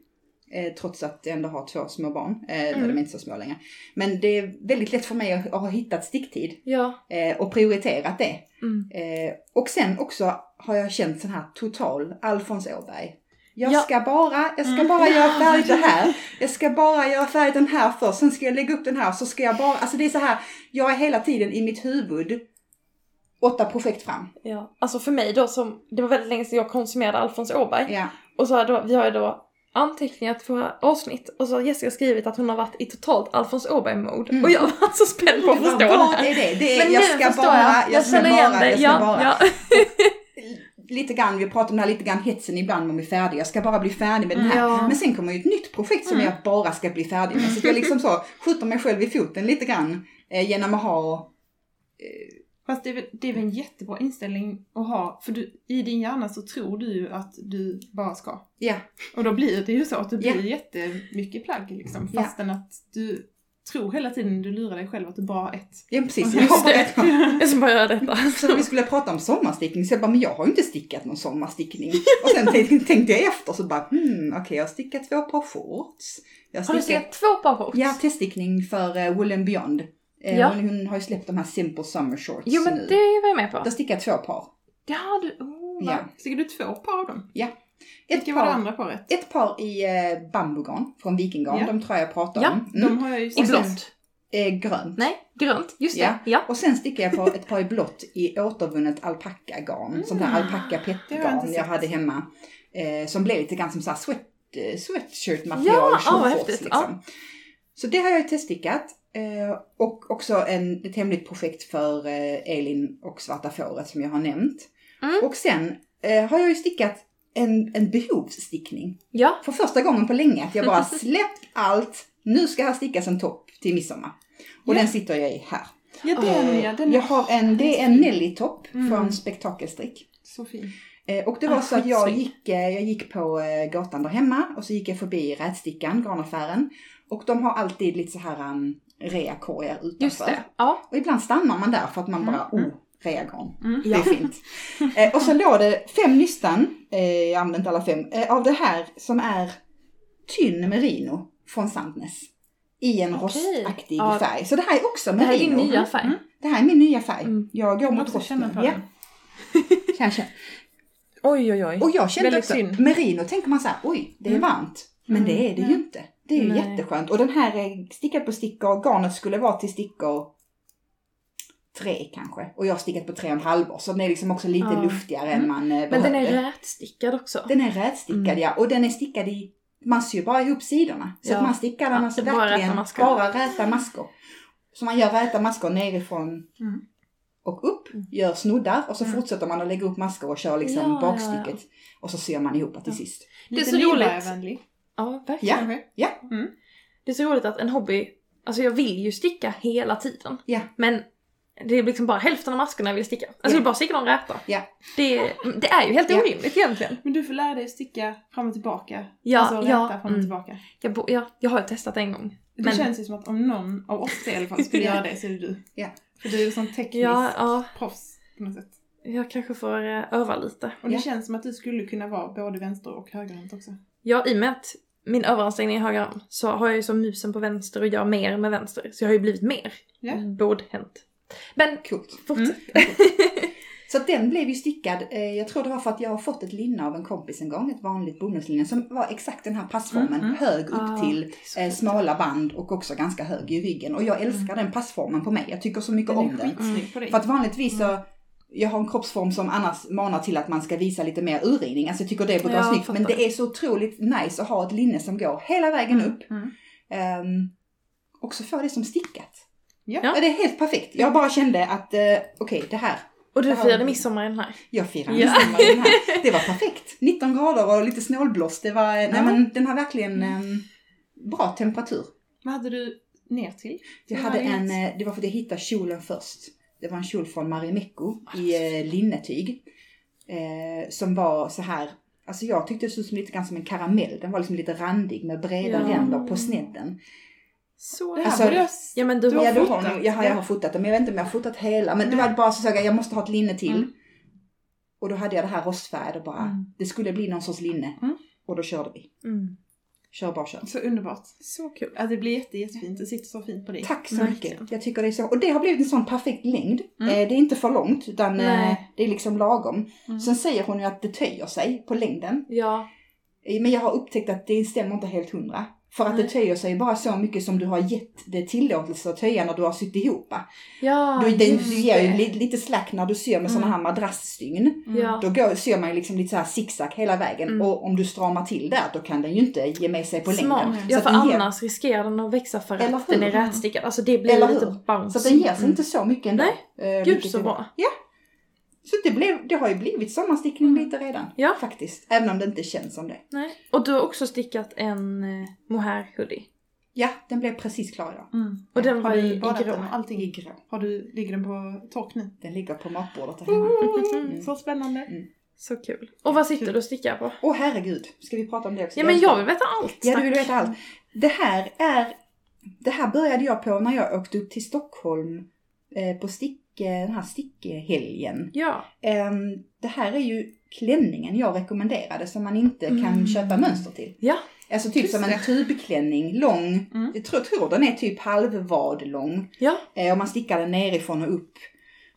Eh, trots att jag ändå har två små barn. Eh,
Mm.
De är inte så små längre. Men det är väldigt lätt för mig att, att ha hittat sticktid
ja.
eh, och prioriterat det.
Mm.
Eh, och sen också har jag känt sån här total Alfons Åberg.
Ja.
Jag
Mm.
ska bara, jag ska
<laughs>
bara göra färdigt det här. Jag ska bara göra färdigt den här först, sen ska jag lägga upp den här, så ska jag bara, alltså det är så här, jag är hela tiden i mitt huvud åtta projekt fram.
Ja. Alltså för mig då som, det var väldigt länge sedan jag konsumerade Alfons Åberg.
Ja.
Och så har då, vi har ju då anteckningar till våra avsnitt och så har Jessica skrivit att hon har varit i totalt Alfons Åberg-mode.
Mm.
Och jag var så spänd <laughs> på att förstå det
Vad
här.
är det? det är,
Men
jag
nu
ska
förstår
bara,
jag. Jag
ska
känner igen
bara,
det.
jag ska
Ja,
bara.
ja. <laughs>
Lite grann, vi pratar om det här lite grann hetsen ibland om vi är färdiga. Jag ska bara bli färdig med den här.
Ja.
Men sen kommer ju ett nytt projekt som
Mm.
jag bara ska bli färdig med. Så att jag liksom så skjuter mig själv i foten lite grann eh, genom att ha...
Fast det är, väl, det är väl en jättebra inställning att ha, för du, i din hjärna så tror du ju att du bara ska.
Ja,
Och då blir det ju så att det blir
Ja.
jättemycket plagg liksom,
Ja.
fastän att du tror hela tiden, du lurar dig själv att du bara har ett.
ja precis.
Just
Jag har
det.
bara-
Jag som bara gör detta.
Så vi skulle prata om sommarstickning så jag bara, men jag har ju inte stickat någon sommarstickning. Och sen tänkte- tänkte jag efter så bara, hmm, okej jag har stickat två par shorts. Jag
Har du sett två par shorts?
Ja, teststickning för eh, Wool and Beyond. Eh,
Ja.
hon, hon har ju släppt de här Simple Summer Shorts
Jo men
nu.
det var jag med på.
Jag har stickat två par.
Ja du, oh,
Ja.
ja.
Sticker du två par av dem?
Ett,
Vilka var det
par,
andra paret?
ett par i eh, bambugarn från Vikingarn,
Ja.
de tror jag jag pratade
Ja,
om. Mm.
De har jag ju
I
sett.
blått.
Eh, grönt.
Nej, grönt. Just det.
Ja.
Ja.
Och sen stickade jag på ett par i blått i återvunnet alpackagarn.
Mm.
Sånt här alpacka
Det har jag inte
pettgarn
sett.
jag hade hemma. Eh, som blev lite grann som så här sweat, eh, sweatshirt
Ja,
material.
ah,
shorts,
vad häftigt.
liksom. Så det har jag ju teststickat. Eh, och också en, ett hemligt projekt för eh, Elin och Svarta Fåret som jag har nämnt.
Mm.
Och sen eh, har jag ju stickat en, en behovsstickning.
ja.
För första gången på länge att jag
<laughs>
bara släppt allt. Nu ska jag sticka som topp till midsommar. Och
Ja.
den sitter jag i här.
Ja, den ja, den
Jag
är
har en, det är en Nelly-topp
Mm.
från Spektakelstrick.
så fin.
Eh, Och det var
Ah,
så att jag
skitsnygg.
gick, eh, jag gick på eh, gatan där hemma och så gick jag förbi rätstickan, garnaffären. Och de har alltid lite så här um, reakorgar utanför.
Just det. Ja.
Och ibland stannar man där för att man bara,
Mm.
oh, reagarn.
Mm.
Det är
<laughs>
fint. Eh, Och så låg det fem nystan, eh, jag använde inte alla fem, eh, av det här som är tynn merino från Sandnes. I en
Okej.
rostaktig
Ja.
färg. Så det här är också
Det
merino.
här är din nya färg.
Mm.
Det här är min nya färg.
Mm.
Jag går
Jag
mot
måste känna
rosten.
på
Ja,
den.
känn, känn.
Oj oj oj.
Och jag kände
Väldigt
också,
synd.
merino tänker man så här, oj, det är
Mm.
varmt. Men
Mm,
det är det
nej.
ju inte. Det är ju
Nej.
jätteskönt. Och den här är stickad på stickor, garnet skulle vara till stickor tre kanske. Och jag har stickat på tre och en halv år, så den är liksom också lite
Ja.
luftigare än
Mm.
man eh,
Men den är
behövde.
rätstickad också.
Den är rätstickad
Mm.
ja, och den är stickad i, man syr bara ihop sidorna. Så
Ja.
att man stickar den
Ja,
alltså
bara räta
verkligen,
maskor.
bara räta maskor. Så man gör räta maskor nerifrån
Mm.
och upp,
Mm.
gör snoddar och så
Mm.
fortsätter man att lägga upp maskor och kör liksom
Ja, ja, ja.
bakstycket. Och så syr man ihop det till
Ja.
sist.
Det är
Lite
så roligt.
nybörjarvänlig.
Ja, verkligen.
Ja.
kanske.
Det är så roligt att en hobby, alltså jag vill ju sticka hela tiden.
Ja.
Men det är liksom bara hälften av maskorna jag vill sticka. Alltså
Ja.
jag vill bara sticka någon räta.
Ja.
Det, det är ju helt
Ja.
orimligt egentligen.
Men du får lära dig att sticka fram och tillbaka.
Ja,
alltså räta
ja,
fram och
mm.
tillbaka.
Jag, bo, ja, jag har ju testat en gång.
Det
Men-
känns ju som att om någon av oss i alla fall skulle
Ja.
göra det så är det du.
Ja.
För du är ju sån teknisk
Ja, ja,
proffs på något sätt.
jag kanske får eh, öva lite.
Och det
Ja.
känns som att du skulle kunna vara både vänster och högerhänt också.
Ja, i och med att min överansträngning är höger arm så har jag ju som musen på vänster och gör mer med vänster. Så jag har ju blivit mer
Ja.
bådhänt. Men
Coolt.
fortsätt.
Så att den blev ju stickad, eh, jag tror det var för att jag har fått ett linne av en kompis en gång, ett vanligt bomullslinne som var exakt den här passformen,
Mm, mm.
hög upp
Ah,
till
det är så
eh,
kul.
smala band och också ganska hög i ryggen. Och
Mm.
jag älskar den passformen på mig. Jag tycker så mycket
Den
om
är
den.
skitsnygg på dig.
För att vanligtvis så,
Mm.
jag har en kroppsform som annars manar till att man ska visa lite mer urringning. Alltså jag tycker det brukar vara
Ja,
snyggt. Men
fattar.
det är så otroligt nice att ha ett linne som går hela vägen upp.
Mm.
Ehm, och så får det som stickat.
Ja.
Ja.
det är helt perfekt. Jag bara kände att, eh, okej det här,
Och du
Det har
firade
vi.
midsommar i den här.
jag firar
Ja.
midsommar i
<laughs>
den här. Det var perfekt. 19 grader och lite snålblåst. Det var, nej
Ja.
men den har verkligen ehm, bra temperatur.
Vad hade du ner till?
Jag
Du
hade en,
inget-
eh, det var för att jag hittade kjolen först. Det var en kjol från Marimekko
Ah,
i eh, linnetyg. Eh, som var så här, alltså jag tyckte det såg ut som lite grann som en karamell. Den var liksom lite randig med breda
Ja.
ränder på snedden.
Så
Det här
alltså,
borde jag... s-
Ja men du,
Du
har
ja,
har
du
fått-
har,
fotat,
nog- jag, har, jag har
ja.
fotat den, men jag vet inte om jag har fotat hela. Men det
Nej.
var bara så att jag jag måste ha ett linne till.
Mm.
Och då hade jag det här rostfärgade och bara,
Mm.
det skulle bli någon sorts linne.
Mm.
Och då körde vi.
Mm.
Kör bara kör.
Så underbart.
Så kul.
Ja, det blir jätte, jättefint. Det sitter så fint på dig.
Tack så
Verkligen.
mycket. Jag tycker det är så, och det har blivit en sån perfekt längd.
Mm.
Eh, det är inte för långt utan eh,
Nej.
det är liksom lagom.
Mm.
Sen säger hon ju att det töjer sig på längden.
Ja,
Eh, Men jag har upptäckt att det stämmer inte helt hundra. För att
Nej.
det töjer sig bara så mycket som du har gett det tillåtelse att töja när du har sytt ihop.
Ja, Mm.
du, den, du
just
ger ju
det.
lite, lite slack när du syr med
Mm.
sådana här madrassstygn.
Mm.
Ja.
Då går, syr man ju liksom lite så här zigzag hela vägen
Mm.
och om du stramar till där då kan den ju inte ge med sig på
Smart.
längden. Så
Ja,
att
för
den ger-
annars riskerar den att växa för
Eller
att den är
hur?
rätstickad. Alltså det blir
Eller
lite
hur?
bounce.
Så att den ger sig
Mm.
inte så mycket ändå. Eh, Nej,
Gud så bra.
Så det, blev, det har ju blivit sommarstickning lite redan.
Mm. Ja.
Faktiskt. Även om det inte känns som det.
Nej. Och du har också stickat en eh, mohair hoodie.
Ja, den blev precis klar idag.
Mm.
Och den var
Har
i,
du
i
badat den
grå.
och allting?
I grå.
Har du, ligger den på tork nu?
Den ligger på matbordet där hemma. Mm.
Så spännande.
Så kul. Och vad sitter du och stickar på?
Åh herregud, ska vi prata om det också?
Ja men jag vill veta allt.
Ja, du vill
tack.
veta allt. Det här är... Det här började jag på när jag åkte upp till Stockholm eh, på stick, eh, den här stickhelgen.
Ja.
Ehm, det här är ju klänningen jag rekommenderade som man inte
Mm.
kan köpa mönster till.
Ja.
Alltså typ
Just
som en
det.
tubklänning, lång.
Mm.
Jag tror, tror den är typ halvvad lång.
Ja.
Eh, och man stickar den nerifrån och upp.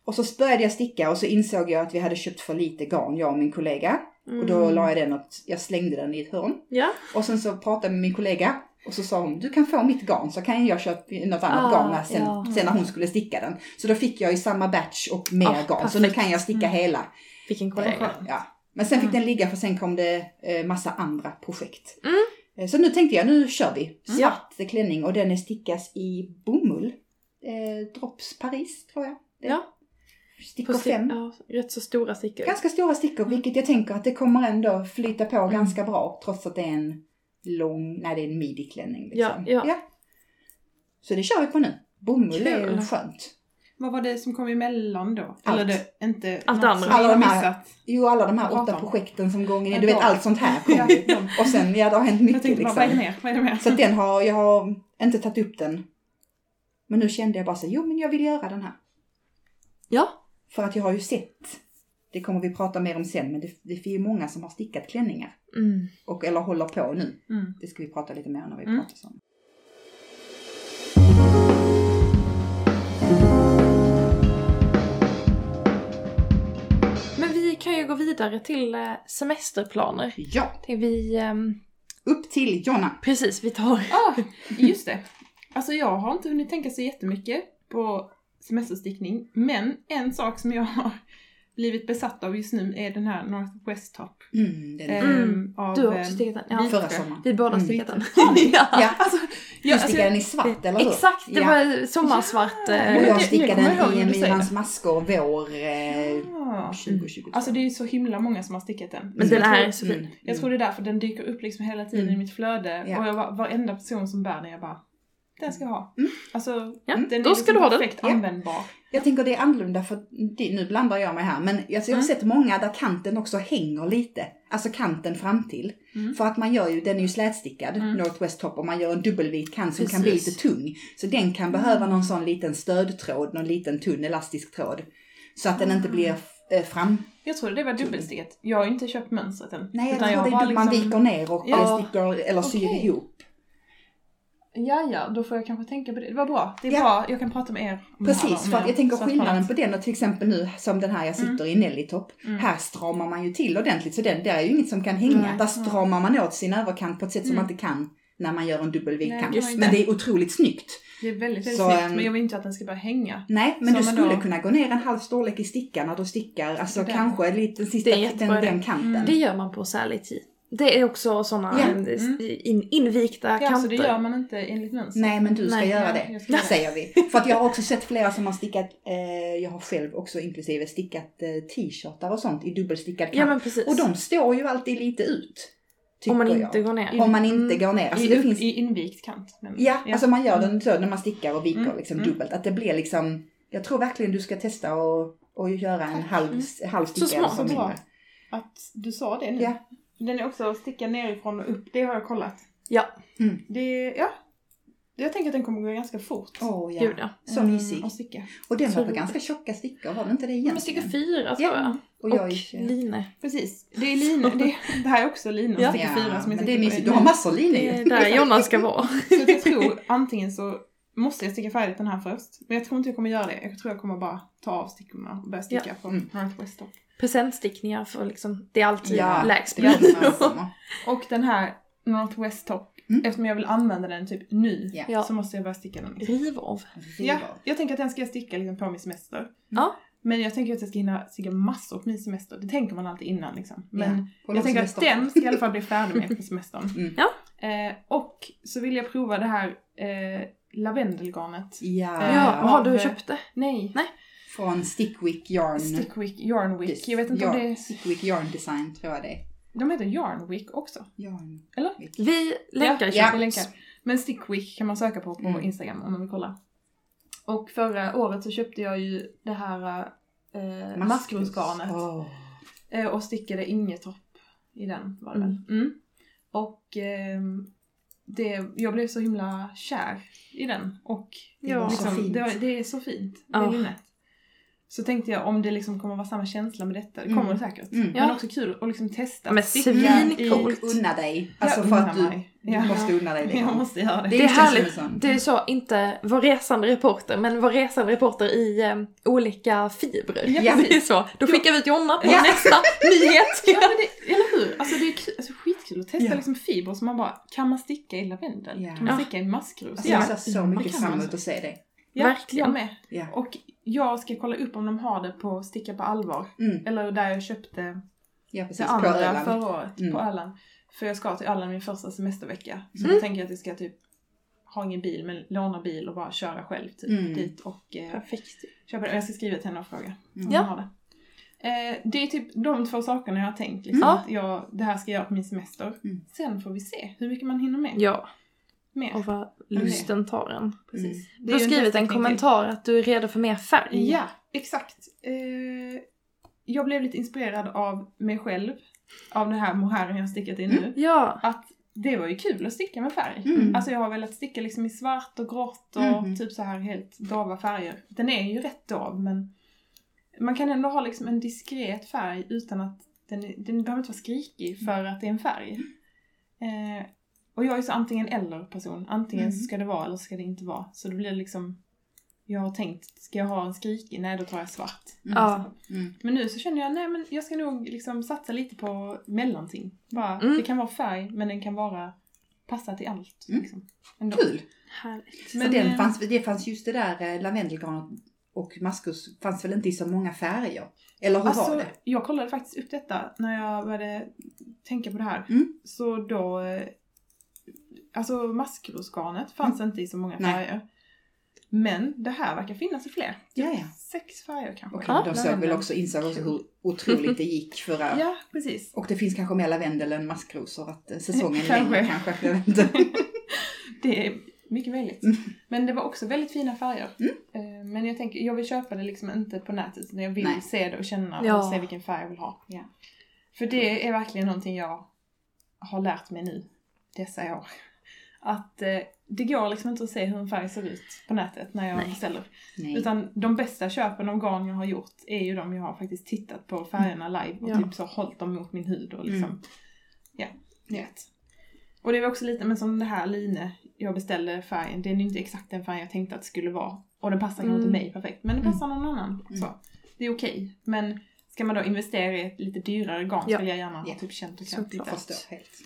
Och så började jag sticka och så insåg jag att vi hade köpt för lite garn, jag och min kollega. Och då la jag den och jag slängde den i ett hörn.
Mm. Ja.
Och sen så pratade jag med min kollega och så sa hon, du kan få mitt garn så kan jag köpa något annat
Ah,
garn när, sen,
ja.
sen när hon skulle sticka den. Så då fick jag i samma batch och mer
Ah,
garn, så
perfekt.
nu
Mm.
kan jag sticka hela.
Vilken kollega.
skönt.
Ja. Men sen fick
Mm.
den ligga för sen kom det eh, massa andra projekt.
Mm.
Eh, Så nu tänkte jag, nu kör vi.
Mm.
Svart klänning och den är stickas i bomull. Eh, Drops Paris tror jag. Det är
Ja.
Stickor
På sti-
fem.
ja, rätt så stora stickor.
Ganska stora
Mm.
stickor, vilket jag tänker att det kommer ändå flyta på ganska bra trots att det är en lång, nej det är en midi-klänning liksom.
Ja, ja.
Så det kör vi på nu. Bomull är
Kul.
ju skönt.
Vad var det som kom emellan då?
Allt.
Eller det, inte
Allt
något
andra.
som vi har
Alla de här-
missat?
Jo, alla de här
Prata
åtta
om.
projekten som gången är,
Ja,
du vet
de.
allt sånt här
Ja,
kom ju.
de.
Och sen, ja det har hänt
Jag
mycket
tänkte bara,
liksom.
vad är det mer? Vad är det mer?
Så att den har, jag har inte tagit upp den. Men nu kände jag bara så, jo men jag vill göra den här.
Ja.
För att jag har ju sett, det kommer vi prata mer om sen, men det, det är ju många som har stickat klänningar.
Mm.
Och eller håller på nu.
Mm.
Det ska vi prata lite mer om när vi
Mm.
pratar om.
Men vi kan ju gå vidare till eh, semesterplaner.
Ja,
Det Vi, ehm,
upp till Jonna.
precis, vi tar...
Ah, just det. Alltså jag har inte hunnit tänka så jättemycket på semesterstickning, men en sak som jag har blivit besatt av just nu är den här Northwest Top.
Mm, den,
eh,
Mm.
av,
Du har
eh,
också stickat den. Ja.
ehm, förra sommaren.
Vi båda
Mm. <laughs>
stickat den.
Har ni?
ja.
Ja,
<laughs> Alltså,
du
jag, alltså,
stickade den i svart, eller hur?
Exakt, det
ja.
var sommarsvart.
Ja,
eh,
Och
men det-
jag
nu
stickade
kommer jag ihåg
den i
när du säger
Emilans maskor vår eh,
ja.
2022.
alltså det är ju så himla många som har stickat den.
Men
Så
den
jag tror-
är så fin.
Jag tror det är därför den dyker upp liksom hela tiden
Mm.
i mitt flöde
Ja.
och jag, var- varenda person som bär den, jag bara den ska jag ha.
Mm.
Alltså,
Ja,
den
då
är
ska
liksom
du ha den.
perfekt
Ja.
användbar.
Jag tänker det är annorlunda för det, nu blandar jag mig här men alltså, jag har
Mm.
sett många där kanten också hänger lite. Alltså kanten fram till.
Mm.
För att man gör ju, den är ju slätstickad,
Mm.
Northwest Top, och man gör en dubbelvit kant som kan bli
Precis.
lite tung. Så den kan
Mm.
behöva någon sån liten stödtråd, någon liten tunn elastisk tråd. Så att den
Ah.
inte blir eh, fram...
Jag trodde det var dubbelstickat. Jag har ju inte köpt mönstret än.
Nej, jag
Utan
tror det
bara
är liksom... man viker ner och
Ja.
eller sticker eller syr
Okej.
ihop.
Ja, ja, då får jag kanske tänka på det. Det var bra. Det är
Ja.
bra. Jag kan prata med er om det här
Precis,
då, om
för att
er
jag tänker
svartmalet.
skillnaden på den och till exempel nu som den här jag sitter i, Nellytop.
Mm.
Här stramar man ju till ordentligt så den där är ju inget som kan hänga.
Nej.
Där stramar man åt sin överkant på ett sätt som
Mm.
man inte kan när man gör en
Nej,
dubbelvit kant.
det kan man
Men
inte.
det är otroligt snyggt.
Det är väldigt, väldigt
Så,
snyggt,
ehm,
men jag vill inte att den ska börja hänga.
Nej, men
Så
du
man
skulle
då-
kunna gå ner en halv storlek i stickan när du stickar. Alltså
Det där.
kanske lite den sista
Det är en
den,
jättebra idé.
den kanten.
Det gör man på Sally Tea. Det är också sådana
Ja.
eh,
Mm.
in, invigta
Ja, så
kanter.
det gör man inte enligt mönstret.
Nej, men du ska
Nej,
göra
ja,
det.
jag ska göra det.
Säger vi. För att jag har också sett flera som har stickat, eh, jag har själv också inklusive stickat eh, t-shirtar och sånt i dubbelstickad kant.
Ja men precis.
Och de står ju alltid lite ut. Tycker
Om man
jag.
inte går ner.
Om man inte
Mm.
går ner. Alltså,
I,
det
upp-
finns...
I invikt kant. Men,
Ja, alltså man gör den så när man stickar och viker
Mm,
liksom
mm.
dubbelt. Att det blir liksom, jag tror verkligen du ska testa och, och göra en
Tack.
halv, halv sticka. eller
smart,
så
så bra.
mindre.
Att du sa det nu.
Ja.
Den är också stickad nerifrån och upp, det har jag kollat.
Ja.
Mm.
Det, ja. Jag tänker att den kommer gå ganska fort.
Åh ja.
Gud ja.
Så
Mm,
mysig.
att sticka.
Och den
Så
var på
roligt.
ganska tjocka stickor, var det inte det
Ja, Men sticka
egentligen?
fyra tror jag.
Ja, och
Och,
jag gick...
line.
Precis. Det är
<laughs>
lina, det, det här är också lina
Ja.
och sticka fyra som
men
jag
det är
tänker på.
mysigt. Du har massor linor
Det
ju.
är <laughs> där Jonna ska vara.
Så att jag tror antingen så måste jag sticka färdigt den här först. Men jag tror inte jag kommer göra det. Jag tror jag kommer bara ta av stickorna och börja sticka
Ja.
på
Mm.
Northwest Top.
Presentstickningar för liksom, det är alltid
Ja,
lägst
Det är
pris.
massor.
Och den här Northwest Top
Mm.
Eftersom jag vill använda den typ nu
Ja.
Ja.
så måste jag börja sticka den.
Riv av.
Ja, jag tänker att den ska jag sticka liksom på min semester.
Ja.
Men jag tänker att jag ska hinna sticka massor på min semester. Det tänker man alltid innan liksom. Men
Ja, på
jag tänker att
långsemester.
den ska i alla fall bli
<laughs>
färdig med på semestern.
Mm.
Ja.
Eh, och så vill jag prova det här eh, lavendelgarnet.
Ja,
Ja,
Eh,
har du
av-
köpt det?
Nej,
Nej.
från Stickwick Yarn.
Stickwick, Yarnwick. Jag vet inte om
yarn,
det är...
Stickwick Yarn Design tror jag det är.
De heter Yarnwick också.
Yarn.
Vi länkar i
Ja,
Vi
show notes.
länkar. Men Stickwick kan man söka på på
Mm.
Instagram om man vill kolla. Och förra året så köpte jag ju det här eh, maskrosgarnet.
Åh.
Eh, och stickade ingetopp i den var det väl. Mm. Och ehm, det, jag blev så himla kär i den. Och
Det var
Ja.
så
liksom,
fint.
det, var, det är så fint, det
Ja.
linnet. Så tänkte jag om det liksom kommer vara samma känsla med detta. Det
Mm.
kommer det säkert.
Mm.
Men
Ja.
också kul att liksom testa.
Ja, men
att sticka
svincoolt.
i-
Unna dig.
Jag
Alltså för
unnar
att du,
mig.
du
Ja.
måste unna dig det.
<laughs> Jag måste göra det.
Det är
inte
härligt.
känns som-
Det är så, inte vår resande reporter, men vår resande reporter i eh, olika fibrer.
Ja.
<laughs> Det är så. Då skickar vi ut Jonna på
Ja. <laughs>
nästa nyhet.
Ja men det, eller hur? Alltså det är kul, alltså, skitkul att testa
Ja.
liksom fibrer som man bara, kan man sticka i lavendel?
Ja.
Kan man sticka i en maskros?
Alltså, Jag ser så
Man
mycket
kan
fram emot
alltså.
att se det.
Ja,
Verkligen.
Jag med.
Ja.
Och jag ska kolla upp om de har det på Sticka på allvar.
Mm.
Eller där jag köpte
Ja,
det
precis. På
andra
Öland.
förra året
Mm.
på Öland. För jag ska till Öland min första semestervecka. Så
Mm.
då tänker jag att jag ska typ ha ingen bil men låna bil och bara köra själv typ
Mm.
dit och eh,
Perfekt.
köpa det. Och Jag ska skriva till henne och fråga om
Mm.
hon har det. Eh, det är typ de två sakerna jag har tänkt. Liksom,
Mm.
att jag, det här ska jag göra på min semester.
Mm.
Sen får vi se hur mycket man hinner med.
Ja,
Mer.
och vad lusten tar en.
Precis.
Mm.
Det
Du
är
har
ju
skrivit en
testning till.
kommentar att du är redo för mer färg.
Ja, exakt. Eh, jag blev lite inspirerad av mig själv, av den här mohairen jag har stickat i
Mm.
nu.
Ja,
Att det var ju kul att sticka med färg.
Mm.
Alltså jag har velat sticka liksom i svart och grått och
Mhm.
typ så här helt dava färger. Den är ju rätt dov men man kan ändå ha liksom en diskret färg utan att den, är- den behöver inte vara skrikig för
Mm.
att det är en färg. Eh, och jag är så antingen eller person. Antingen
Mm.
så ska det vara eller så ska det inte vara. Så då blir det liksom jag har tänkt, ska jag ha en skrikig? Nej, då tar jag svart.
Mm.
ja.
Mm.
Men nu så känner jag, nej men jag ska nog liksom satsa lite på mellanting. Bara,
Mm.
Det kan vara färg, men den kan vara passa till allt.
Mm.
Liksom, ändå.
Kul!
Härligt.
Men
Men,
den
eh,
fanns, det fanns just det där eh, lavendelgranet och maskus fanns väl inte i så många färger? Eller hur var
Alltså,
det?
jag kollade faktiskt upp detta när jag började tänka på det här.
Mm.
Så då... eh, Alltså maskrosgarnet fanns inte i så många
Mm. Nej.
färger. Men det här verkar finnas i fler. Typ
Ja, ja.
Sex färger kanske.
Och
Ja.
de såg väl också, insåg också hur otroligt det gick förra
Ja, precis.
Och det finns kanske mer lavendel än maskrosor, att eh, säsongen är
Kanske.
längre kanske. Jag vet inte.
Det är mycket möjligt.
Mm.
Men det var också väldigt fina färger. Eh, Men jag tänker, jag vill köpa det liksom inte på nätet utan jag vill
Nej.
se det och känna
Ja.
och se vilken färg jag vill ha. För det är verkligen någonting jag har lärt mig nu, dessa år. Att eh, det går liksom inte att se hur en färg ser ut på nätet när jag
Nej.
beställer.
Nej.
Utan de bästa köpen av garn jag har gjort är ju de jag har faktiskt tittat på färgerna live och
Ja.
typ så hållit dem mot min hud och liksom.
Mm.
Ja, ni vet. Och det var också lite, men som det här line jag beställde färgen, den är inte exakt den färg jag tänkte att det skulle vara. Och den passar kanske
Mm.
inte mig perfekt, men den
Mm.
passar någon annan.
Mm.
Så, det är okej. Men ska man då investera i ett lite dyrare garn
Ja.
skulle jag gärna ha
Ja.
typ känt och
Såklart.
känt lite.
Förstår helt.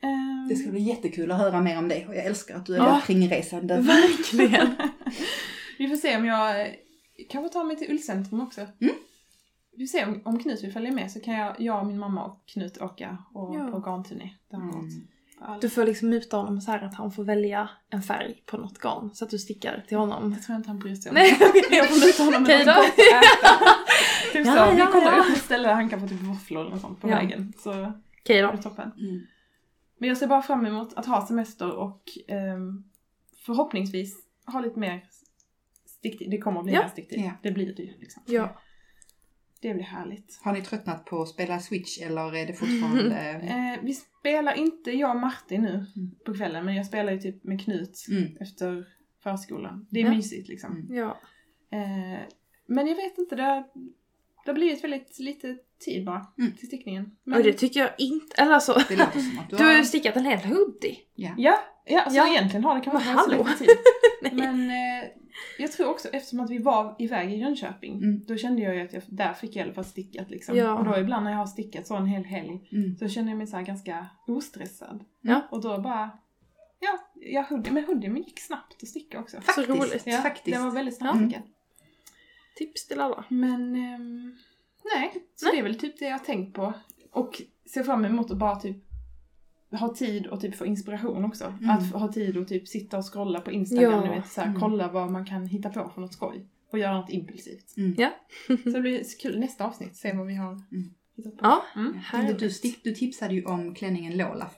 Ehm,
Det ska bli jättekul att höra mer om det och jag älskar att du är
Ja.
där kringresande.
Verkligen.
Vi får se om jag eh, kanske tar mig till Ullcentrum också.
Mm.
Vi får se om, om Knut vill följa med så kan jag, jag, min mamma och Knut åka och,
Ja.
på garnturné. Där han gått.
Mm.
Du får liksom muta honom så här att han får välja en färg på något garn så att du stickar till honom.
Det tror jag inte han bryr sig om.
Nej,
jag får muta honom
Mm. <laughs> Okej då.
med
<laughs>
något gott att äta. Typ så,
Ja,
vi
ja,
kollar
ja.
upp ett ställe där han kan få typ våfflor eller något sånt på
Ja.
vägen. Så det
Okej då.
är toppen.
Mm.
Men jag ser bara fram emot att ha semester och ehm, förhoppningsvis ha lite mer sticktid. Det kommer att bli
Ja.
mer sticktid.
Ja.
Det blir det ju liksom.
Ja.
Det blir härligt.
Har ni tröttnat på att spela Switch eller är det fortfarande...
<laughs>
Mm.
Eh, vi spelar inte jag och Martin nu
Mm.
på kvällen men jag spelar ju typ med Knut
Mm.
efter förskolan. Det är
Ja. Mm.
mysigt liksom.
Mm.
Ja.
Eh, men jag vet inte, det har, det har blivit väldigt lite tid bara
Mm.
till stickningen. Men,
Och det tycker jag inte. Eller alltså.
Det låter som att du
Du har ju
har...
stickat en hel hoodie.
ja, ja, så
Ja.
egentligen har det kanske
Men
inte varit så
hallå.
lite tid.
<laughs>
men eh, jag tror också eftersom att vi var iväg i Jönköping
Mm.
då kände jag ju att jag där fick hjälp att sticka liksom.
Ja.
Och då ibland när jag har stickat så en hel helg
Mm.
Så känner jag mig så här ganska ostressad.
Ja.
Och då bara Ja, ja hoodie, men hoodien gick snabbt att sticka också.
Så roligt.
Ja,
faktiskt. Mm.
Den var väldigt
Ja.
snabbstickad.
Tips till alla.
Men ehm, nej, så det är väl typ det jag har tänkt på. Och ser fram emot att bara typ ha tid och typ få inspiration också.
Mm.
Att få- ha tid och typ sitta och scrolla på Instagram,
Ja.
du vet, så här,
Mm.
kolla vad man kan hitta på för något skoj. Och göra något impulsivt.
Mm. <laughs>
Ja.
så det blir så kul nästa avsnitt, se vad vi har hittat på.
Ja.
Mm.
Du,
Härligt.
du, stick- du tipsade ju om klänningen Lola.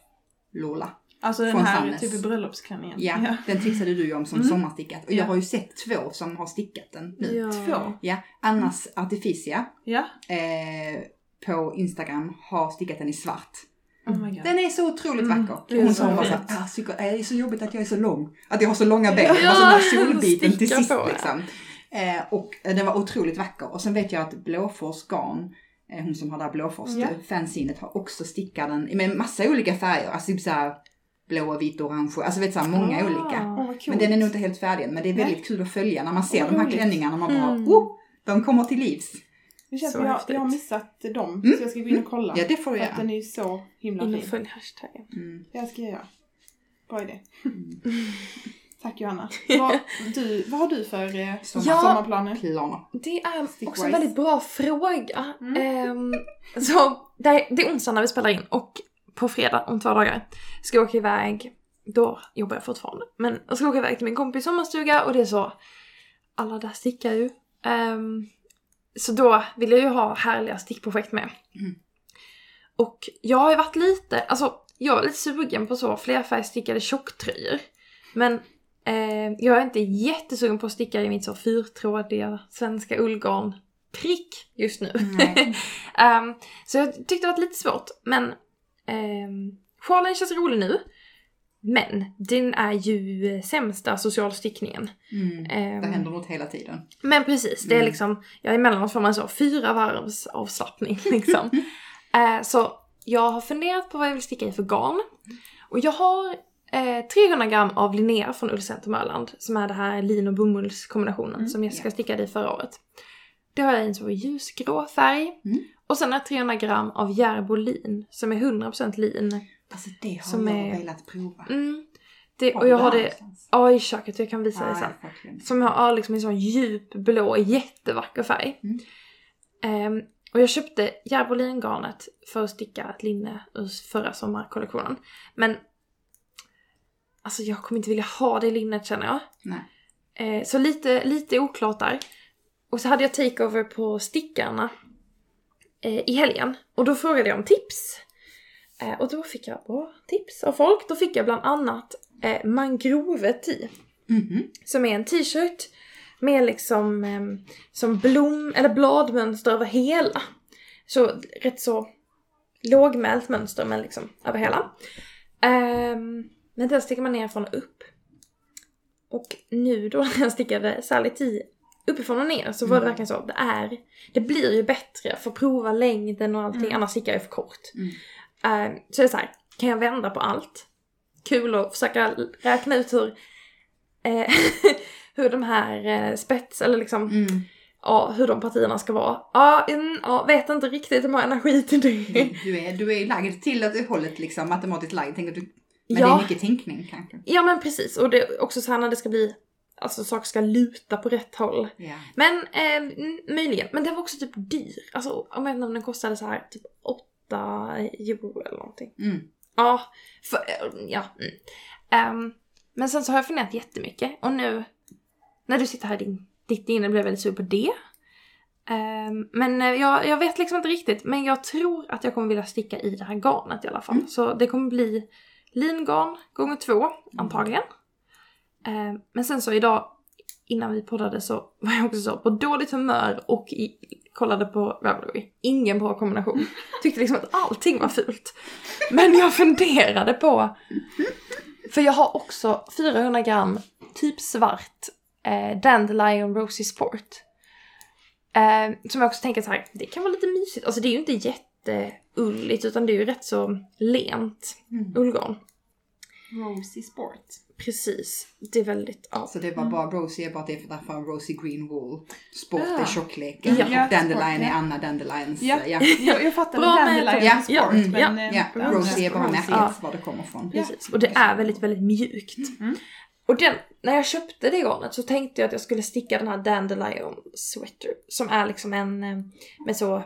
Lola.
Alltså den
Från
här
Sannes.
typ bröllopsklänningen.
Ja, den tipsade du ju om som
Mm.
sommarstickat. Och jag
Ja.
har ju sett två som har stickat den nu. Ja.
Ja.
Två.
Annas Artificia
Ja.
eh, på Instagram har stickat den i svart.
Oh my god.
Den är så otroligt
Mm,
vacker.
det är
Hon
så
sa bara
fint.
såhär, ah, psyko- eh, det är så jobbigt att jag är så lång. Att jag har så långa ben.
Ja,
alltså
<laughs>
den här solbiten till
sticka
sist
på, ja.
liksom. Eh, och eh, den var otroligt vacker. Och sen vet jag att Blåfors Garn, eh, hon som har det här Blåfors
Ja.
eh, fanzinet, har också stickat den med massa olika färger. Alltså typ såhär blå, vit, orange. Alltså vet såhär många
Ah.
olika.
Åh,
Men
vad coolt.
den är nog inte helt färdig än, men det är
Nej.
väldigt kul att följa när man ser
Vad
de här
roligt.
klänningarna. Man bara,
Mm.
oh, de kommer till livs.
Det känns
Så
som jag,
häftigt.
jag har missat dem,
Mm.
så jag ska gå in och kolla.
Ja, det får du
För att
göra.
den är ju så himla
In och
fin.
följ hashtaggen.
Mm.
Det ska jag göra. Bra idé.
Mm.
Tack <laughs> Johanna. Vad, du, vad har du för eh,
Sommar-
Ja.
sommarplaner?
Planer.
Det är också
Stickwise.
en väldigt bra fråga.
Mm.
Ehm, så det, är, det är onsdag när vi spelar in och på fredag om två dagar ska jag åka iväg. Då jobbar jag fortfarande. Men jag ska åka iväg till min kompis sommarstuga och det är så. Alla där stickar ju. Ehm, så då vill jag ju ha härliga stickprojekt med.
Mm.
Och jag har ju varit lite, alltså jag är lite sugen på så flerfärgstickade tjocktröjor. Men Eh, jag är inte jättesugen på att sticka i mitt så fyrtrådiga svenska ullgarn prick just nu.
Nej.
Ehm, så jag tyckte det var lite svårt. Men ehm, sjalen känns rolig nu. Men den är ju eh, sämsta socialstickningen.
<laughs> Mm.
Ehm,
Det händer något hela tiden.
men precis, det är
Mm.
liksom, ja emellanåt får man så fyra varvs avslappning <laughs> liksom. eh, så jag har funderat på vad jag vill sticka i för garn. Och jag har eh, 300 gram av Linnea från Ullcenter Mörland, som är det här lin och bomullskombinationen
Mm,
som Jessica
ja.
stickade i förra året. Det har jag i en så ljusgrå färg.
Mm.
Och sen har jag 300 gram av Järbo lin, som är 100% lin.
Alltså det har
Som
jag
är-
velat prova.
Mm. Det,
Var
och jag har
det där
det
någonstans?
ja, i köket, jag kan visa dig
Ah, Ja,
sen.
jag har glömt.
Som jag har liksom en sån djup blå, jättevacker färg.
Mm.
Ehm, och jag köpte Järbolingarnet för att sticka ett linne ur förra sommarkollektionen. Men alltså jag kommer inte vilja ha det linnet känner jag.
Nej.
Eh, så lite, lite oklart där. Och så hade jag takeover på stickarna eh, i helgen. Och då frågade jag om tips. Eh, och då fick jag bra tips av folk. Då fick jag bland annat eh, mangrove tee
Mhm.
som är en t-shirt med liksom ehm, som blom eller bladmönster över hela. Så rätt så lågmält mönster men liksom över hela. Ehm, men den sticker man ner från och upp. Och nu då <laughs> när jag stickade Sally 10 uppifrån och ner så var det
Mm.
verkligen så, det är, det blir ju bättre, jag får prova längden och allting,
Mm.
annars stickar jag för kort.
Mm.
Eh, så det är så här, kan jag vända på allt? Kul att försöka l- räkna ut hur, eh, <laughs> hur de här eh, spets, eller liksom, <laughs>
Mm.
ja, hur de partierna ska vara. Ja, mm, ja, vet inte riktigt om jag har energi till det.
Du är, du är lagd till att det hållet liksom matematiskt lagd. Tänker du, men det är
ja,
mycket tänkning kanske.
ja, men precis. Och det är också så här när det ska bli, alltså saker ska luta på rätt håll.
Ja.
Men eh, mm, möjligen. Men den var också typ dyr. Alltså om jag vet inte om den kostade så här typ 8 euro eller någonting.
Mm.
Ja, för, ja. Mm. Ehm, men sen så har jag funderat jättemycket och nu när du sitter här i din, ditt inne blir jag väldigt sur på det. Ehm, men eh, jag, jag vet liksom inte riktigt, men jag tror att jag kommer vilja sticka i det här garnet i alla fall.
Mm.
Så det kommer bli lingarn gånger två antagligen. Ehm, men sen så idag innan vi poddade så var jag också så på dåligt humör och i, kollade på Ravelry. Ingen bra kombination. Tyckte liksom att allting var fult. Men jag funderade på... För jag har också 400 gram typ svart eh, Dandelion Rosy Sport. Eh, som jag också tänker så här, det kan vara lite mysigt. Alltså det är ju inte jätteulligt utan det är ju rätt så lent
Mm.
ullgarn.
Rosy Sport.
Precis. Det är väldigt, ja.
Så det var
Mm.
bara Rosie är bara det för därför Rosie Green Wool. Sport
Ja.
är tjockleken.
Ja. Mm.
Ja,
Dandelion
sport,
är
ja.
Anna Dandelions.
Ja.
eh, Ja.
<laughs> Jag, jag fattar
Bra
med Dandelion
med-
sport,
ja,
mm,
men...
ja,
eh,
Ja,
ja,
Rosie är bara
Rosie.
märket
Ja.
var det kommer ifrån.
Ja.
Precis. Och det är väldigt, väldigt mjukt.
Mm.
Och den, när jag köpte det garnet så tänkte jag att jag skulle sticka den här Dandelion Sweater. Som är liksom en eh, med så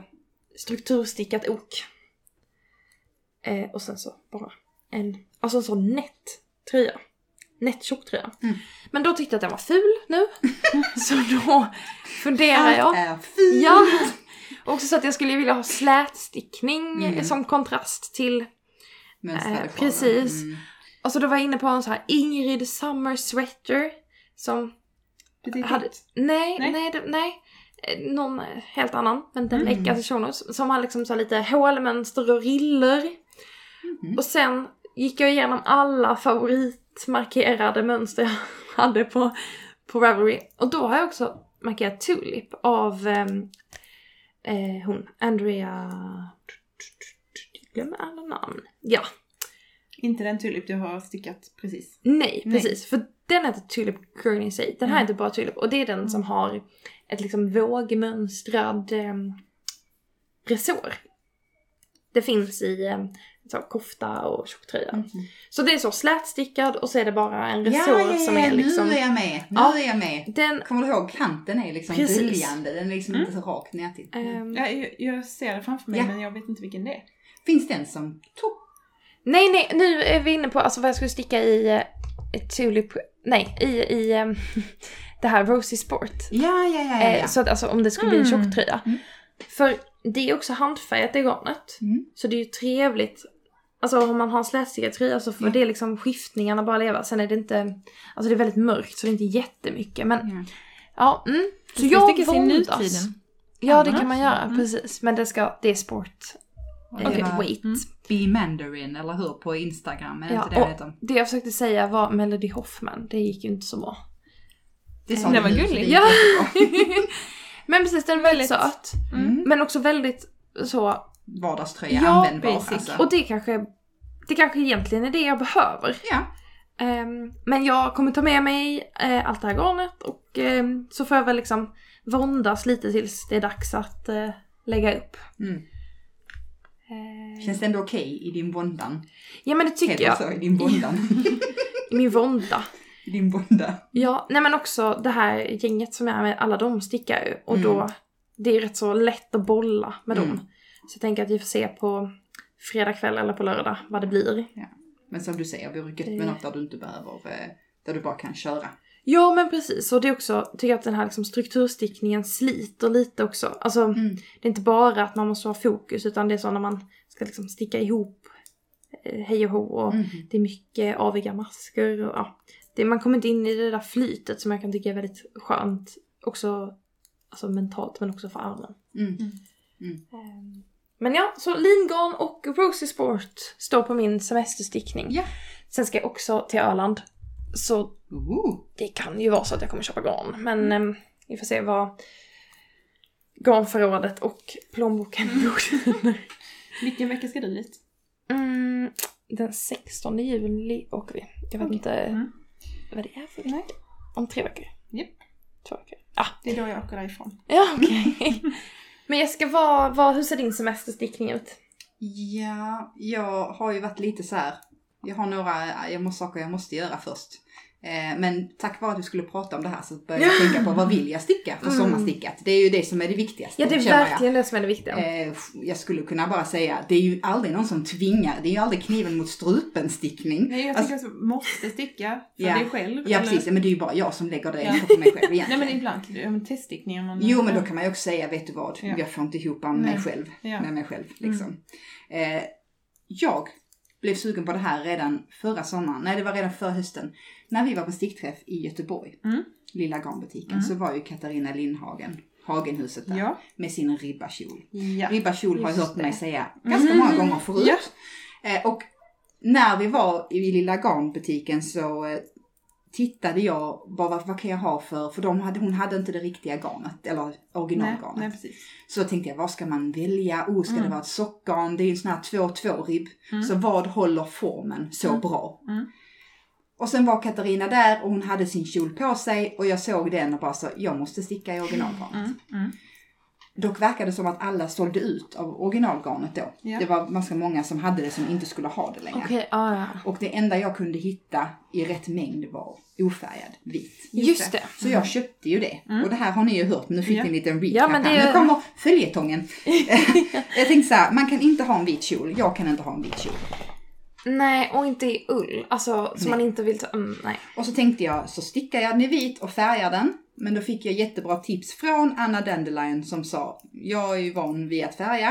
strukturstickat ok. Eh, och sen så bara en, alltså en så nätt tröja. Nätt tjock tröja.
Mm.
Men då tyckte jag att den var ful
<laughs>
nu. så då funderar jag.
Allt är fint!
Ja! Och Också så att jag skulle vilja ha slätstickning
Mm.
som kontrast till
Mönstrade
Eh,
kvar där.
precis.
Mm.
Alltså då var jag inne på en sån här Ingrid Summer Sweater som
Petit
hade... Nej, nej,
Nej.
nej. Det, nej. Eh, Någon eh, helt annan, men den
Mm.
läckas i show notes, Som har liksom så här lite hålmönster och riller.
Mhm.
Och sen gick jag igenom alla favoritmarkerade mönster jag <laughs> hade på, på Ravelry. Och då har jag också markerat Tulip av ehm, eh, hon, Andrea... Jag glömmer alla namn. Ja.
Inte den tulip du har stickat precis.
Nej,
Nej.
precis. För den heter Tulip Curling sig. Den här
Mm.
heter bara Tulip. Och det är den
Mm.
som har ett liksom vågmönstrad eh, resår. Det finns i eh, så, kofta och tjocktröja. Så det är så slätstickad och så är det bara en
Mhm. Ja,
resår
ja,
som
ja,
är liksom...
nu är jag med. Nu
Ja.
är jag med.
Den...
Kommer du ihåg kanten är liksom
Precis.
böljande, den är liksom
Mm.
inte så rakt ner till.
ehm,
Ja, jag, jag ser det framför mig
Ja.
men jag vet inte vilken det är.
Finns den som topp?
Nej, nej, nu är vi inne på alltså, vad jag skulle sticka i eh, ett Tulip... Nej, i, i ehm, <laughs> det här Rosie Sport.
Ja, ja, ja, ja.
Eh,
ja.
Så att alltså om det skulle bli en
Mm.
tjocktröja.
Mm.
För det är också handfärgat i garnet.
Mm.
Så det är ju trevligt. Alltså om man har en slätstickad tröja så får
Ja.
det liksom skiftningarna bara leva. Sen är det inte, alltså det är väldigt mörkt så det är inte jättemycket. Men
Ja.
ja, mm. Så
ska
jag
stickas i
våndas.
nutiden.
Ja det
Annars.
kan man göra,
Mm.
precis. Men det ska, det är sport. eh,
det
Okej,
var-
wait.
Mm.
Be Mandarin, eller hur? På Instagram, är det
Ja,
inte det
och-
det heter?
Det jag försökte säga var Melody Hoffman, det gick ju inte så
<laughs>
bra.
Det
Det
var
du nu, så <laughs>
gulligt.
det gick jättebra.
Men precis, den är väldigt söt.
Mm.
Men också väldigt så,
Vardagströja
Ja,
användbar
basic.
alltså.
och det kanske, det kanske egentligen är det jag behöver.
ja.
Ehm, men jag kommer ta med mig eh, allt det här garnet och ehm, så får jag väl liksom våndas lite tills det är dags att eh, lägga upp.
Mm.
Ehm,
Känns det ändå okej i din våndan?
ja men det tycker
Heter
jag.
det så? I
<laughs>
din våndan?
Min vånda.
I din vånda?
Ja, nej men också det här gänget som jag är med, alla de stickar ju och då, det är rätt så lätt att bolla med
Mm.
dem. Så jag tänker att vi får se på fredag kväll eller på lördag vad det blir.
Men som du säger, vore gött med
Det-
något där du inte behöver, eh, där du bara kan köra.
Ja men precis, och det är också, tycker jag att den här liksom strukturstickningen sliter lite också. Alltså
Mm.
det är inte bara att man måste ha fokus utan det är så när man ska liksom sticka ihop eh, hej och hå och
Mhm.
det är mycket aviga masker och ja. Det, man kommer inte in i det där flytet som jag kan tycka är väldigt skönt också alltså mentalt men också för armen.
Mm.
Ehm, Men ja, så lingarn och Rosie Sport står på min semesterstickning.
Ja.
Sen ska jag också till Öland. Så
Ooh.
det kan ju vara så att jag kommer köpa garn. Men ehm, vi får se vad garnförrådet och plånboken godkänner.
Vilken vecka ska du dit?
Mm, den 16 juli åker vi. Jag vet
Okej.
inte
Mm.
vad det är för
Nej.
Om tre veckor?
Japp.
Två veckor? Ah,
Det är då jag åker därifrån.
ja okej. Men Jessica, vad, vad, hur ser din semesterstickning ut?
Ja, jag har ju varit lite så här. Jag har några äh, jag måste, saker jag måste göra först. Eh, Men tack vare att vi skulle prata om det här så började jag tänka på vad vill jag sticka för
Mm.
sommarstickat? Det är ju det som är det viktigaste.
Ja, det är
känner jag.
verkligen det som är det viktiga.
Eh, jag skulle kunna bara säga, det är ju aldrig någon som tvingar, det är ju aldrig kniven mot strupen stickning.
Nej jag
Alltså-
tycker alltså, måste sticka för
Ja.
dig själv.
Ja
eller-
precis, men det är ju bara jag som lägger det
Ja.
på mig själv
Nej
egentligen.
men ibland kan du, ja, men teststickning om man...
Jo men då kan man ju också säga, vet du vad,
Mm. Ja.
jag får inte ihop med mig
Nej.
själv.
Ja. Mm.
Med mig själv liksom. eh, jag blev sugen på det här redan förra sommaren, nej det var redan förra hösten. När vi var på stickträff i Göteborg,
Mm.
lilla garnbutiken,
Mm.
så var ju Katarina Lindhagen, Hagenhuset där,
Ja.
med sin ribbakjol.
Ja. Mm.
Ribba kjol har jag
Just
hört mig
det.
säga ganska många gånger förut.
Ja.
Eh, Och när vi var i lilla garnbutiken så eh, tittade jag bara vad, vad kan jag ha för, för de hade, hon hade inte det riktiga garnet, eller
Nej,
originalgarnet.
nej precis.
Så tänkte jag, vad ska man välja? Oh, ska det
Mm.
vara ett sockgarn? Det är ju en sån här 2-2 ribb.
Mm.
Så vad håller formen så
Mm.
bra?
Mm.
Och sen var Katarina där och hon hade sin kjol på sig och jag såg den och bara så, jag måste sticka i originalgarnet.
Mm, mm.
Dock verkade det som att alla sålde ut av originalgarnet då.
Ja.
Det var ganska många som hade det som inte skulle ha det längre.
Okej, ja, ja.
Och det enda jag kunde hitta i rätt mängd var ofärgad vit.
Just det.
Så jag köpte ju det. Och det här har ni ju hört, men nu fick
Ja.
ni en liten
Mm.
recap
Ja, men
här.
det-
Nu kommer
<laughs>
följetongen. <laughs> jag tänkte så här, man kan inte ha en vit kjol. Jag kan inte ha en vit kjol.
Nej, och inte i ull. Alltså, som
Nej.
man inte vill ta... Mm, nej.
Och så tänkte jag, så stickar jag den i vit och färgar den. Men då fick jag jättebra tips från Anna Dandelion som sa, jag är ju van vid att färga.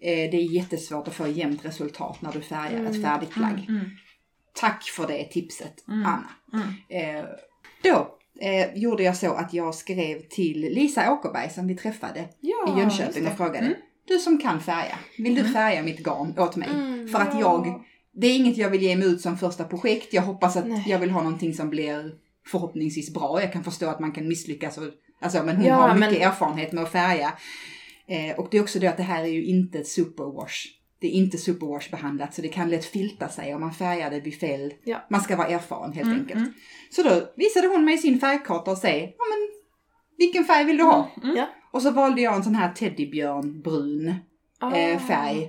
Eh, Det är jättesvårt att få jämnt resultat när du färgar ett
Mm.
färdigt plagg.
Mm.
Tack för det tipset,
Mm.
Anna.
Mm.
Eh, då eh, gjorde jag så att jag skrev till Lisa Åkerberg som vi träffade
Ja,
i
just
Jönköping
det.
och frågade.
Mm.
Du som kan färga, vill du färga mitt garn åt mig?
Mm,
för att
ja.
jag, det är inget jag vill ge mig ut som första projekt. Jag hoppas att
Nej.
jag vill ha någonting som blir förhoppningsvis bra. Jag kan förstå att man kan misslyckas. Och, alltså, men hon
Ja,
har mycket
men-
erfarenhet med att färga. Eh, och det är också det att det här är ju inte ett superwash. Det är inte superwash behandlat så det kan lätt filta sig om man färgar det vid fel.
Ja.
Man ska vara erfaren helt
Mm,
enkelt.
mm.
Så då visade hon mig sin färgkarta och säger, ja men vilken färg vill du ha?
Mm.
Ja.
Och så valde jag en sån här teddybjörnbrun
Ah.
eh, färg.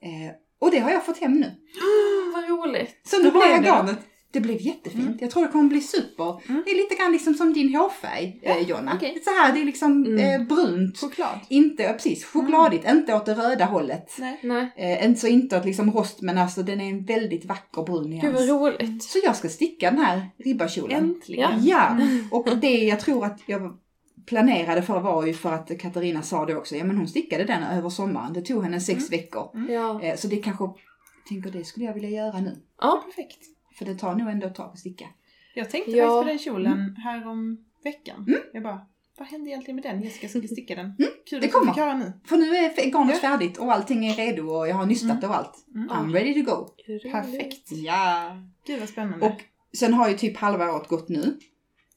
Eh, och det har jag fått hem nu.
Mm, vad roligt.
Så nu
var
blev jag
det.
garnet. Det blev jättefint. Jag tror det kommer bli super.
Mm.
Det är lite grann liksom som din hårfärg, eh, Jonna.
okej.
Så här, det är liksom
Mm.
eh, brunt.
Choklad.
Inte, ja, precis, chokladigt. Inte åt det röda hållet.
Nej.
Nej.
Eh, inte så inte åt liksom rost, men alltså den är en väldigt vacker brun
Gud vad
nyans.
roligt.
Så jag ska sticka den här ribbakjolen.
Äntligen.
Ja, och det jag tror att jag planerade för var ju för att Katarina sa det också, ja men hon stickade den över sommaren, det tog henne sex veckor.
Mm. Ja.
Eh, Så det kanske, jag tänker det skulle jag vilja göra nu.
Ja, perfekt.
För det tar nog ändå ett tag att sticka.
Jag tänkte
Ja.
faktiskt på den
Mm.
kjolen härom veckan. Jag bara, vad hände egentligen med den? Jessica skulle sticka den. Kul
Mm. det
att vi
kommer.
fick höra nu.
För nu är f- garnet
Ja.
färdigt och allting är redo och jag har nystat
Mm.
och allt.
Mm.
I'm ready to go.
Perfekt.
Ja.
Gud vad spännande.
Och sen har ju typ halva året gått nu.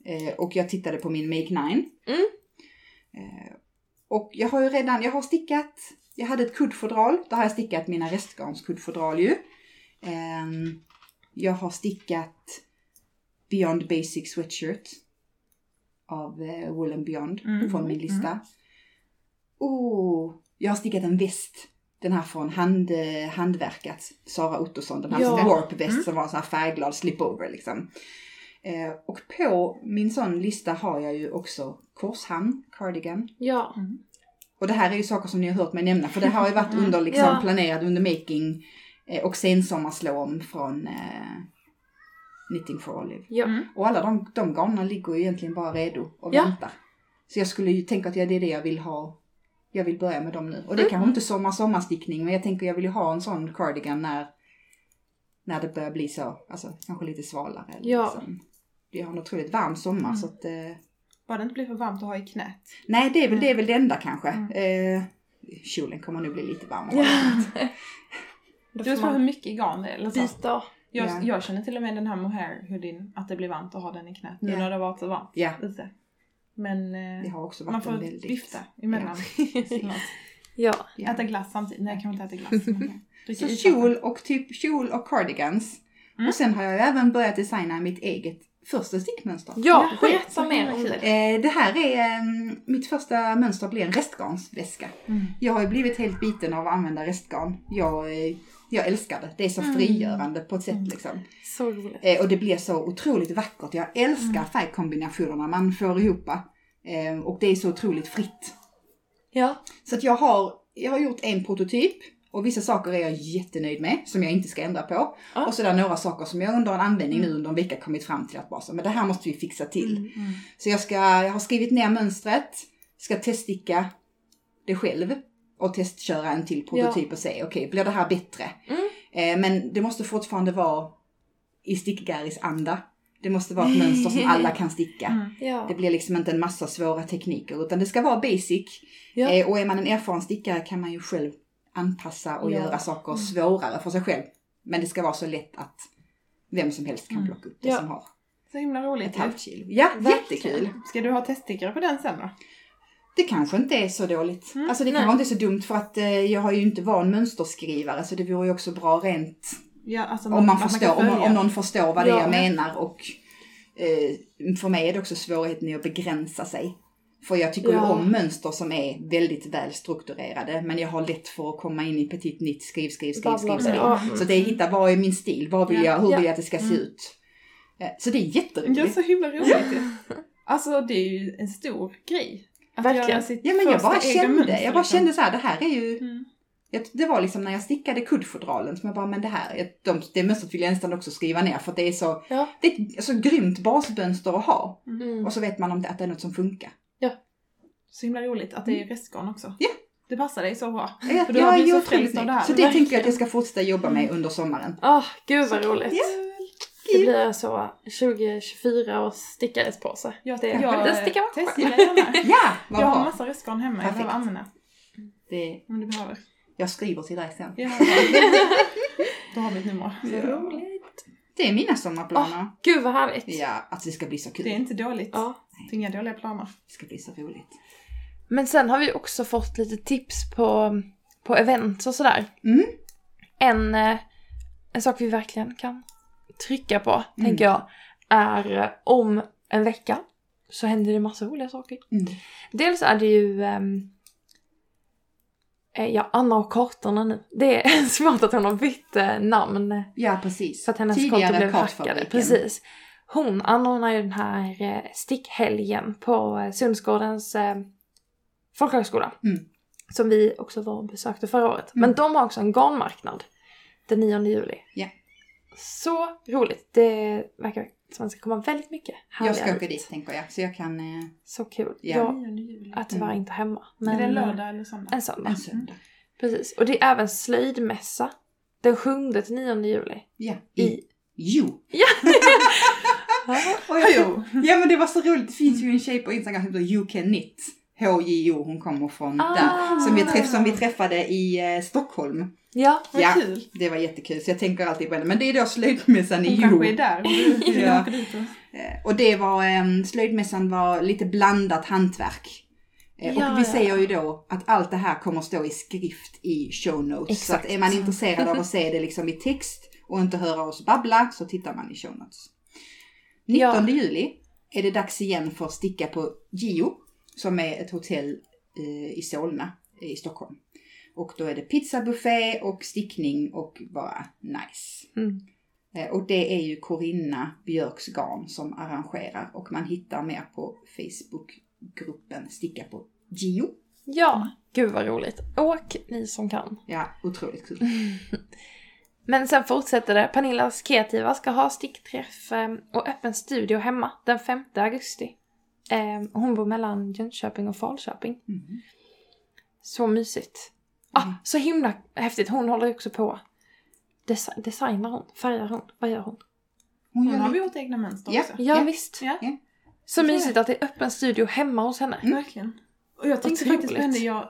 Eh, Och jag tittade på min Make 9.
Mm.
Eh, Och jag har ju redan, jag har stickat, jag hade ett kuddfodral, då har jag stickat mina restgarnskuddfodral ju. Ehm, Jag har stickat Beyond Basic Sweatshirt av eh, Wool and Beyond
Mm.
från min
Mm.
lista. Oh, jag har stickat en väst. Den här från hand, eh, handverkat. Sara Ottosson, den här
Ja.
warp-väst
Mm.
som var en sån här färgglad slipover liksom. Eh, och på min sån lista har jag ju också korshamn, cardigan.
Ja.
Och det här är ju saker som ni har hört mig nämna för det här har ju varit under liksom
<laughs> Ja.
planerad under making eh, och sensommarslå om från eh, Knitting for Olive.
Ja.
Mm.
Och alla de, de garnen ligger ju egentligen bara redo och
Ja.
väntar. Så jag skulle ju tänka att ja, det är det jag vill ha. Jag vill börja med dem nu. Och det
Mm.
kanske inte är sommar sommarstickning men jag tänker jag vill ju ha en sån cardigan när, när det börjar bli så, alltså kanske lite svalare. eller
Ja.
Liksom. Vi har en otroligt varm sommar
Mm.
så att eh,
Bara det inte blir för varmt att ha i knät.
Nej, det är väl det, är väl det enda kanske.
Mm.
Eh, kjolen kommer nog bli lite varmare.
Ja.
Det
<laughs> Då
beror
får
på hur
man
mycket garn det är. Eller så.
byta.
Jag,
Ja.
jag känner till och med den här mohair hoodien, att det blir varmt att ha den i knät. Nu
Ja.
när det har varit så varmt
Ja,
ute. Men eh,
det har också varit
man får
en väldigt...
vifta emellan. Ja.
Ja.
Ja.
<laughs> Äta glass samtidigt. Nej, jag kan inte
<laughs>
äta glass. men- Dricka
Så
isvatten.
kjol och typ kjol och cardigans.
Mm.
Och sen har jag även börjat designa mitt eget första stickmönster.
Ja,
Ja,
berätta
så
mer
himla
om
kul.
det.
Eh, det här är, eh, mitt första mönster blir en restgarnsväska.
Mm.
Jag har ju blivit helt biten av att använda restgarn. Jag, eh, jag älskar det. Det är så
Mm.
frigörande på ett sätt
Mm.
liksom.
Så roligt.
Eh, och det blir så otroligt vackert. Jag älskar
Mm.
färgkombinationerna man får ihop. Eh, och det är så otroligt fritt.
Ja.
Så att jag har, jag har gjort en prototyp och vissa saker är jag jättenöjd med som jag inte ska ändra på.
Ja.
Och så är det några saker som jag under en användning nu under en vecka kommit fram till att bara så, men det här måste vi fixa till.
Mm.
Mm.
Så jag, ska, jag har skrivit ner mönstret, ska teststicka det själv och testköra en till prototyp och se, okej, blir det här bättre?
Mm.
Eh, men det måste fortfarande vara i stickgaris anda. Det måste vara ett mönster som alla kan sticka.
<laughs>
Mm.
Ja.
Det blir liksom inte en massa svåra tekniker utan det ska vara basic.
Ja.
Eh, och är man en erfaren stickare kan man ju själv anpassa och
Ja.
göra saker
Mm.
svårare för sig själv. Men det ska vara så lätt att vem som helst kan
Mm.
plocka upp det
Ja.
som har
Så himla
ett
roligt. ju.
halvt kilo. Ja,
Verkligen.
jättekul!
Ska du ha teststickor på den sen då?
Det kanske inte är så dåligt.
Mm.
Alltså det
Nej.
kanske inte är så dumt för att eh, jag har ju inte varit en mönsterskrivare så det vore ju också bra rent
Ja, alltså,
Om man,
kan
förstår, om,
följa.
om någon förstår vad det
Ja.
jag menar och eh, för mig är det också svårigheten i att begränsa sig. För jag tycker ju
Ja.
om mönster som är väldigt väl strukturerade men jag har lätt för att komma in i petit nytt skriv, skriv, skriv, skriv.
Babblar.
skriv.
Ja.
Så det är hitta vad är min stil, vad vill
Ja. Mm.
jag, hur
Ja.
vill jag att det ska se ut. Eh, Så det är
Det är
jätteroligt.
så himla
<laughs>
roligt ju. Alltså det är ju en stor grej. Att
Verkligen.
göra sitt
Ja men jag
första
bara
egna
kände,
mönster,
jag bara
liksom.
kände så här, det här är ju
Mm.
Jag- Det var liksom när jag stickade kuddfodralen som jag bara, men det här, jag- de, det mönstret vill jag nästan också skriva ner för att det är så,
Ja.
det är ett så grymt basmönster att ha.
Mm.
Och så vet man om det, att det är något som funkar.
Så himla roligt att det är restgarn också.
Mm. Ja.
Det passar dig så bra.
Jag,
För du har
jag är
blivit
ju
så
otroligt
frälst av
nöjd.
det här. Mm.
Så det tänker jag att jag ska fortsätta jobba med under sommaren.
Ah, gud vad roligt.
Ja.
Det blir så 2024 års stickadespåse.
Jag,
Det,
jag, eh,
det stickar man
testar den här.
Ja, <laughs> vad
Jag har
bra!
massa restgarn hemma jag
Perfekt.
behöver använda.
Det,
Om du behöver.
jag skriver till dig sen.
Ja. Då har vi ett nummer.
Så roligt. Det är mina sommarplaner.
Ah.
Gud vad härligt.
Ja, att det ska bli så kul.
Det är inte dåligt.
Ja.
Det är inga dåliga planer.
Det ska bli så roligt.
Men sen har vi också fått lite tips på, på events och sådär.
Mm.
En, eh, en sak vi verkligen kan trycka på, tänker jag, är eh, om en vecka så händer det massa roliga saker.
Mm.
Dels är det ju ehm, eh, ja, Anna och kartorna nu. Det är <laughs> smart att hon har bytt eh, namn
Ja, precis.
så att hennes konto blev hackade. Precis. Hon anordnar ju den här eh, stickhelgen på eh, Sundsgårdens eh, folkhögskola.
Mm.
Som vi också var och besökte förra året.
Mm.
Men de har också en garnmarknad den 9 juli.
Ja.
Så roligt. Det verkar som att det ska komma väldigt mycket härliga
Jag ska åka
hit.
dit tänker jag, så jag kan eh,
Så kul.
Ja. Alltså,
Jag
9 juli.
är tyvärr
Mm.
inte hemma.
Är det en
eh,
lördag eller söndag?
En söndag.
en söndag.
Precis. Och det är även slöjdmässa. Den 7 till 9 juli.
Ja, i
I...
Jo.
Ja.
Och jag-
Jo.
<laughs> Ja men det var så roligt, det finns ju en tjej på Instagram som heter UK Knit. HJO, hon kommer från
Ah.
där. Som vi, träff, som vi träffade i eh, Stockholm.
ja.
Vad
Ja.
kul.
Det var jättekul, så jag tänker alltid på henne. Men det är då slöjdmässan i
Hon kanske är
Jo.
där. om
<laughs>
Du
Ja.
ja. åker dit och...
Eh, Och det var, eh, slöjdmässan var lite blandat hantverk. Eh,
Ja,
och vi
ja.
säger ju då att allt det här kommer stå i skrift i show notes. Så att
Exakt.
är man intresserad
<laughs>
av att se det liksom i text och inte höra oss babbla så tittar man i show notes. 19 juli är det dags igen för sticka på Gio som är ett hotell eh, i Solna eh, i Stockholm. Och då är det pizzabuffé och stickning och bara nice.
Mm.
Eh, Och det är ju Corinna Björks garn som arrangerar och man hittar mer på Facebookgruppen Sticka på Gio.
Ja, gud vad roligt. Åk ni som kan.
Ja, otroligt kul.
Mm.
Men sen fortsätter det. Pernillas kreativa ska ha stickträff eh, och öppen studio hemma den 5 augusti. Eh, och Hon bor mellan Jönköping och Falköping.
Mm.
Så mysigt.
Mm.
Ah, så himla häftigt. Hon håller också på. Desi- designar hon? Färgar hon? Vad gör hon?
Hon
Hon har
gör
gjort egna mönster
Ja. Mm.
också.
Ja,
Ja.
visst.
Ja.
Ja.
Så
Det tror
mysigt att det är öppen studio hemma hos henne.
Mm.
Verkligen. Och jag tänkte
Otroligt.
faktiskt på henne, jag,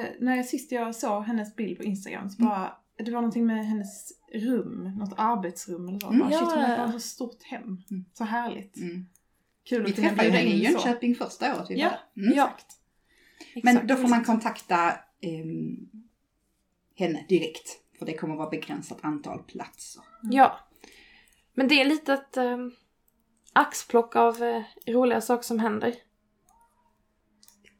eh, när jag sist jag såg hennes bild på Instagram
Mm.
så bara, det var någonting med hennes rum, något arbetsrum eller så.
Mm.
Bara, Shit, hon
Ja.
verkar ha så stort hem.
Mm.
Så härligt.
mm.
Kul
Vi
att kunna
träffade ju
bjuda
henne i
in så.
Jönköping första året vi
Ja.
var där. Mm.
Ja,
Men
exakt.
då får man kontakta ehm, henne direkt. För det kommer vara begränsat antal platser.
Ja. Men det är lite ett eh, axplock av eh, roliga saker som händer.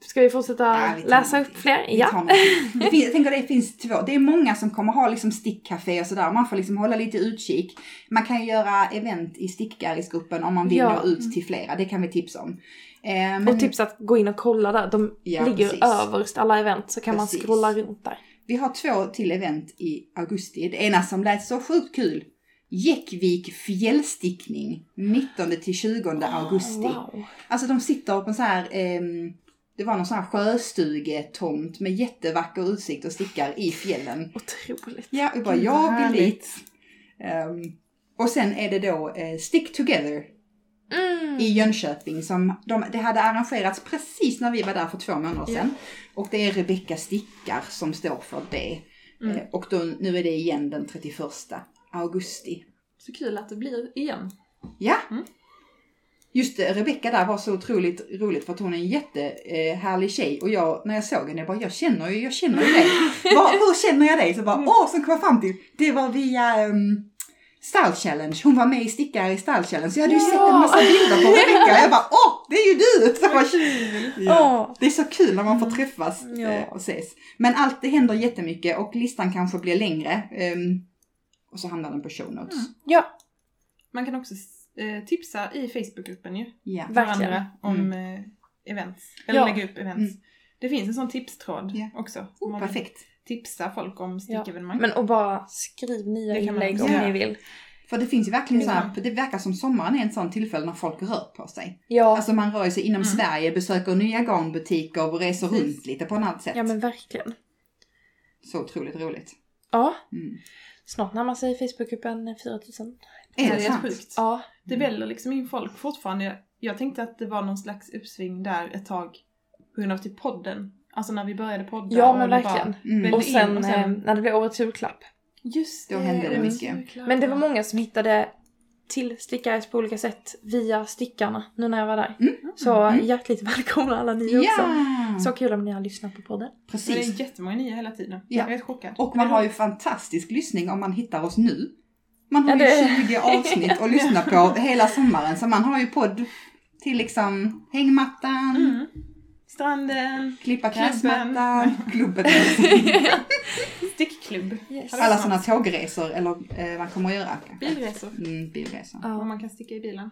Ska vi fortsätta
Ja, vi tar
läsa
någonting.
upp fler?
Vi tar
Ja. <laughs>
någonting. Det finns, jag tänker det finns två. Det är många som kommer ha liksom stickcafé och sådär. Man får liksom hålla lite utkik. Man kan ju göra event i stickgarisgruppen om man vill
Ja.
nå ut till flera. Det kan vi tipsa om. Ehm,
Och tips att gå in och kolla där. De
Ja,
ligger
precis.
överst alla event så kan
Precis.
man scrolla runt där.
Vi har två till event i augusti. Det ena som lät så sjukt kul. Jäckvik fjällstickning 19 till 20 augusti.
Wow.
Alltså de sitter på en sån här, ehm, det var någon sån här sjöstugetomt med jättevacker utsikt och stickar i fjällen.
Otroligt.
Ja, och bara
Gud, vad
jag vill
härligt.
dit. Ehm, och sen är det då eh, Stick Together
Mm.
i Jönköping som de, det hade arrangerats precis när vi var där för två månader
Ja.
sedan. Och det är Rebecka Stickar som står för det.
Mm.
Eh, och då, nu är det igen den 31 augusti.
Så kul att det blir igen.
Ja.
Mm.
Just eh, Rebecca där var så otroligt roligt för att hon är en jättehärlig tjej och jag, när jag såg henne, jag bara jag känner ju, jag känner
<laughs>
ju dig. Bara, Hur känner jag dig? Så
Mm.
bara, åh, sen kom jag fram till, det var via um, Style Challenge, hon var med i Stickare i Style Challenge. Så jag hade ju
Ja.
sett en massa bilder på Rebecca och jag bara, åh, det är ju du! Så jag bara,
Ja.
det är så kul när man får träffas
Mm, ja.
eh, och ses. Men allt, det händer jättemycket och listan kanske blir längre. ehm, och så hamnar den på show notes.
Mm.
Ja.
Man kan också eh, tipsa i Facebookgruppen ju.
Ja.
Verkligen.
Varandra om
Mm.
eh, events. Eller
Ja.
lägga upp events. Det finns en sån tipstråd
Ja.
också.
Oh,
Mm.
man kan
perfekt.
tipsa folk om stickevenemang.
Men och bara skriv nya
Det kan man
inlägg
också
om
göra.
ni vill.
För det finns ju verkligen
Ja.
så här, det verkar som sommaren är ett sånt tillfälle när folk rör på sig.
Ja.
Alltså man rör sig inom
Mm.
Sverige, besöker nya garnbutiker och reser
Precis.
runt lite på något sätt.
ja men verkligen.
Så otroligt roligt.
Ja.
Mm.
Snart närmar sig Facebookgruppen eh, 4000.
Är det,
helt
sant?
sjukt.
Ja.
Det väller liksom in folk fortfarande. Jag tänkte att det var någon slags uppsving där ett tag på grund av typ podden. Alltså när vi började podda.
Ja
och
men
det
verkligen.
Mm.
Väl-
Och
in,
sen,
och sen-
eh, när det blev årets julklapp.
just
Då hände det
och
mycket.
julklappar.
Men det var många som hittade till Stickares på olika sätt via Stickarna nu när jag var där.
Mm.
Så
Mm.
hjärtligt <laughs> välkomna alla ni också.
Ja,
Så kul om ni har lyssnat på podden.
Men det
precis.
är jättemånga nya hela tiden.
Ja.
Jag är helt chockad.
Och man
Men
har
då-
ju fantastisk lyssning om man hittar oss nu. Man har
Ja,
ju
det-
20 avsnitt att lyssna på hela sommaren. Så man har ju podd till liksom hängmattan,
Mm. Stranden,
klippa
Klubben.
gräsmattan, klubben.
stickklubb.
Yes.
Har du
Alla
något?
sådana tågresor eller eh, man kommer att göra kanske.
Bilresor.
Mm, bilresor.
Och
Ja,
man kan sticka i bilen.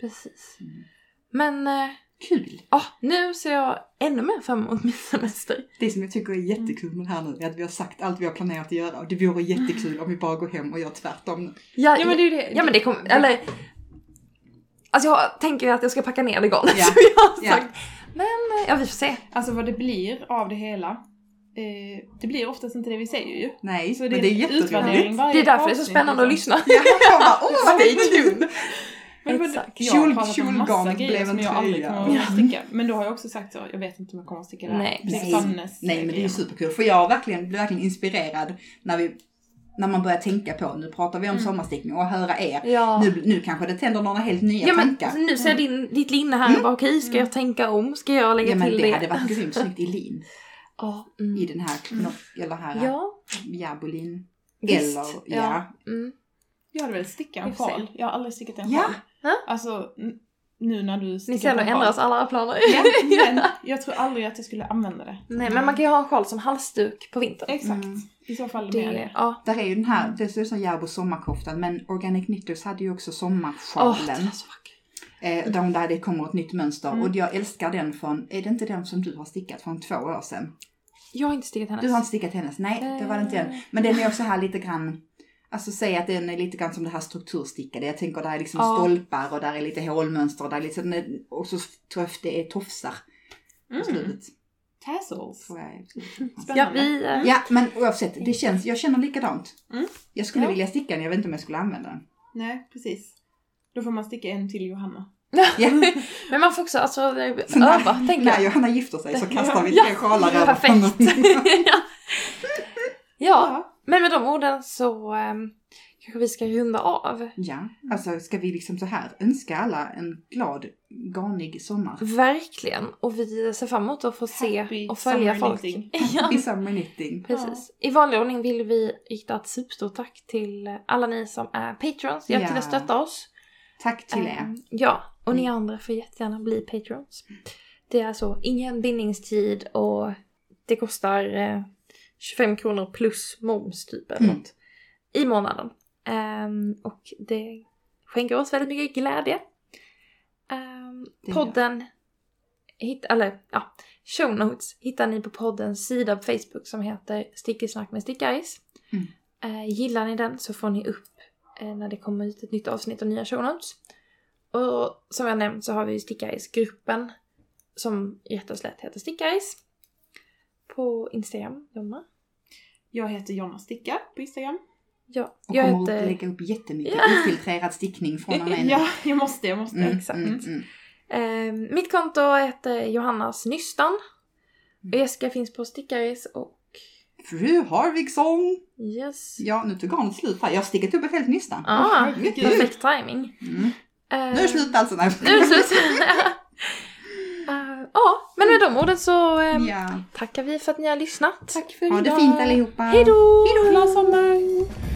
precis.
Mm.
Men eh,
Kul!
ja, nu ser jag ännu mer fram emot min semester.
Det som jag tycker är jättekul med det här nu är att vi har sagt allt vi har planerat att göra och det vore jättekul om vi bara går hem och gör tvärtom. nu.
Ja,
Ja men det är ju det.
ja, men det kommer... Eller... Alltså jag tänker att jag ska packa ner det garnet
Ja.
<laughs> som jag har
Ja.
sagt. Men eh, ja, vi får se.
Alltså vad det blir av det hela. Eh, det blir oftast inte det vi säger ju.
Nej,
Så
men det är jätteroligt.
utvärdering varje
Det är därför det är så
avsnitt,
spännande att
liksom.
lyssna.
Jag bara, åh vad
Stay
kul!
Men det var-
Exakt.
Jag har
Kjol-
pratat om
kjolgarn
massa grejer
blev
som
en
jag aldrig
tröja.
kommer
<laughs>
att sticka. Men då har jag också sagt så, jag vet inte om jag kommer att sticka det här.
Nej,
Typ
nej.
Sannes
Nej men det är ju
grejer.
superkul för jag verkligen, blev verkligen inspirerad när, vi, när man börjar tänka på, nu pratar vi om
Mm.
sommarstickning och höra er.
Ja.
Nu, nu kanske det tänder några helt nya
Ja men
tankar. Mm.
nu ser jag din, ditt linne här och bara okej, ska jag tänka om? Ska jag lägga
Ja men
till
det,
det?
hade varit grymt snyggt i lin.
Ja.
I
Mm.
den här knopp, eller här ja.
Ja.
jabolin.
Visst,
Eller, ja.
ja. Mm.
Jag hade väl sticka en
Vi får se.
sjal. Jag har aldrig stickat en
Ja.
sjal.
Ja.
Alltså n- nu när du
Ni
stickar
ser,
på
då
en sjal.
ändras alla era planer. <laughs>
Ja, men jag tror aldrig att jag skulle använda det.
Nej men man kan ju ha en sjal som halsduk på vintern.
Exakt.
Mm.
I så fall med
Det,
det.
ja.
Där är ju den här, det ser ut som Järbo sommarkoftan men Organic Knitters hade ju också
Åh,
sommarsjalen.
den är så vacker.
eh, där, där det kommer ett nytt mönster
Mm.
och jag älskar den från, är det inte den som du har stickat från två år sedan?
Jag har inte stickat hennes.
Du har inte stickat hennes? Nej, det var det inte den.
Eh.
Men den är också här lite grann, alltså säg att den är lite grann som det här strukturstickade. Jag tänker där är liksom
Ja.
stolpar och där är lite hålmönster och där är lite, så den är- och så tror jag att det är tofsar på
Mm.
slutet.
Tassels.
Tror jag.
Mm. Ja,
Spännande.
vi... eh,
Ja, men oavsett, det känns, jag känner likadant.
Mm.
Jag skulle
Ja.
vilja sticka den, jag vet inte om jag skulle använda
<laughs>
den.
Nej, precis. Då får man sticka en till Johanna.
Ja.
Men man får också alltså, eh,
Så när-
öva, tänker
När
jag.
Johanna gifter sig så kastar vi
Ja.
tre sjalar över honom.
Perfekt! <laughs> ja. ja, men med de orden så ehm, kanske vi ska runda av.
<laughs> Ja, alltså ska vi liksom så här önska alla en glad, garnig sommar.
Verkligen! Och vi ser fram emot att få se
Happy
och följa
summer
folk.
knitting.
Ja.
I summer knitting.
<laughs> Precis. I vanlig ordning vill vi rikta ett superstort tack till alla ni som är patrons. Hjälp till att
Ja.
stötta oss.
Tack till er. Mm.
Ehm, Ja, och ni andra får jättegärna bli patrons. Det är alltså ingen bindningstid och det kostar eh, 25 kronor plus moms typ eller
Mm.
något i månaden. Ehm, och det skänker oss väldigt mycket glädje. Ehm,
Det gör
podden, hitt, eller ja, show notes hittar ni på poddens sida på Facebook som heter Stickisnack med Stickaris.
Mm.
Eh, gillar ni den så får ni upp eh, när det kommer ut ett nytt avsnitt och nya show notes. Och som jag nämnt så har vi ju Stickaris-gruppen som rätt och slätt heter Stickaris. På Instagram, Jonna.
Jag heter Jonna Sticka på Instagram.
Ja,
Och
jag
kommer att
heter...
lägga upp jättemycket
Ja.
ofiltrerad stickning från och med nu.
Ja, jag måste, jag måste.
Mm,
exakt.
Mm, mm.
Eh, mitt konto heter Johannas Nystan.
Mm.
Och Jessica finns på Stickaris och...
Fru Harvigsson!
Yes.
Ja, nu tog garnet slut här. Jag har stickat upp ett helt nystan.
Ah,
Herregud.
perfekt timing.
Mm.
Eh,
Nu är det slut! slut alltså. Nej.
Nu är det slut. <laughs> Eh, Ja, men med de orden så ehm,
Ja.
tackar vi för att ni har lyssnat.
Tack för
Ha
idag.
det fint allihopa.
Hej då!
Glad sommar!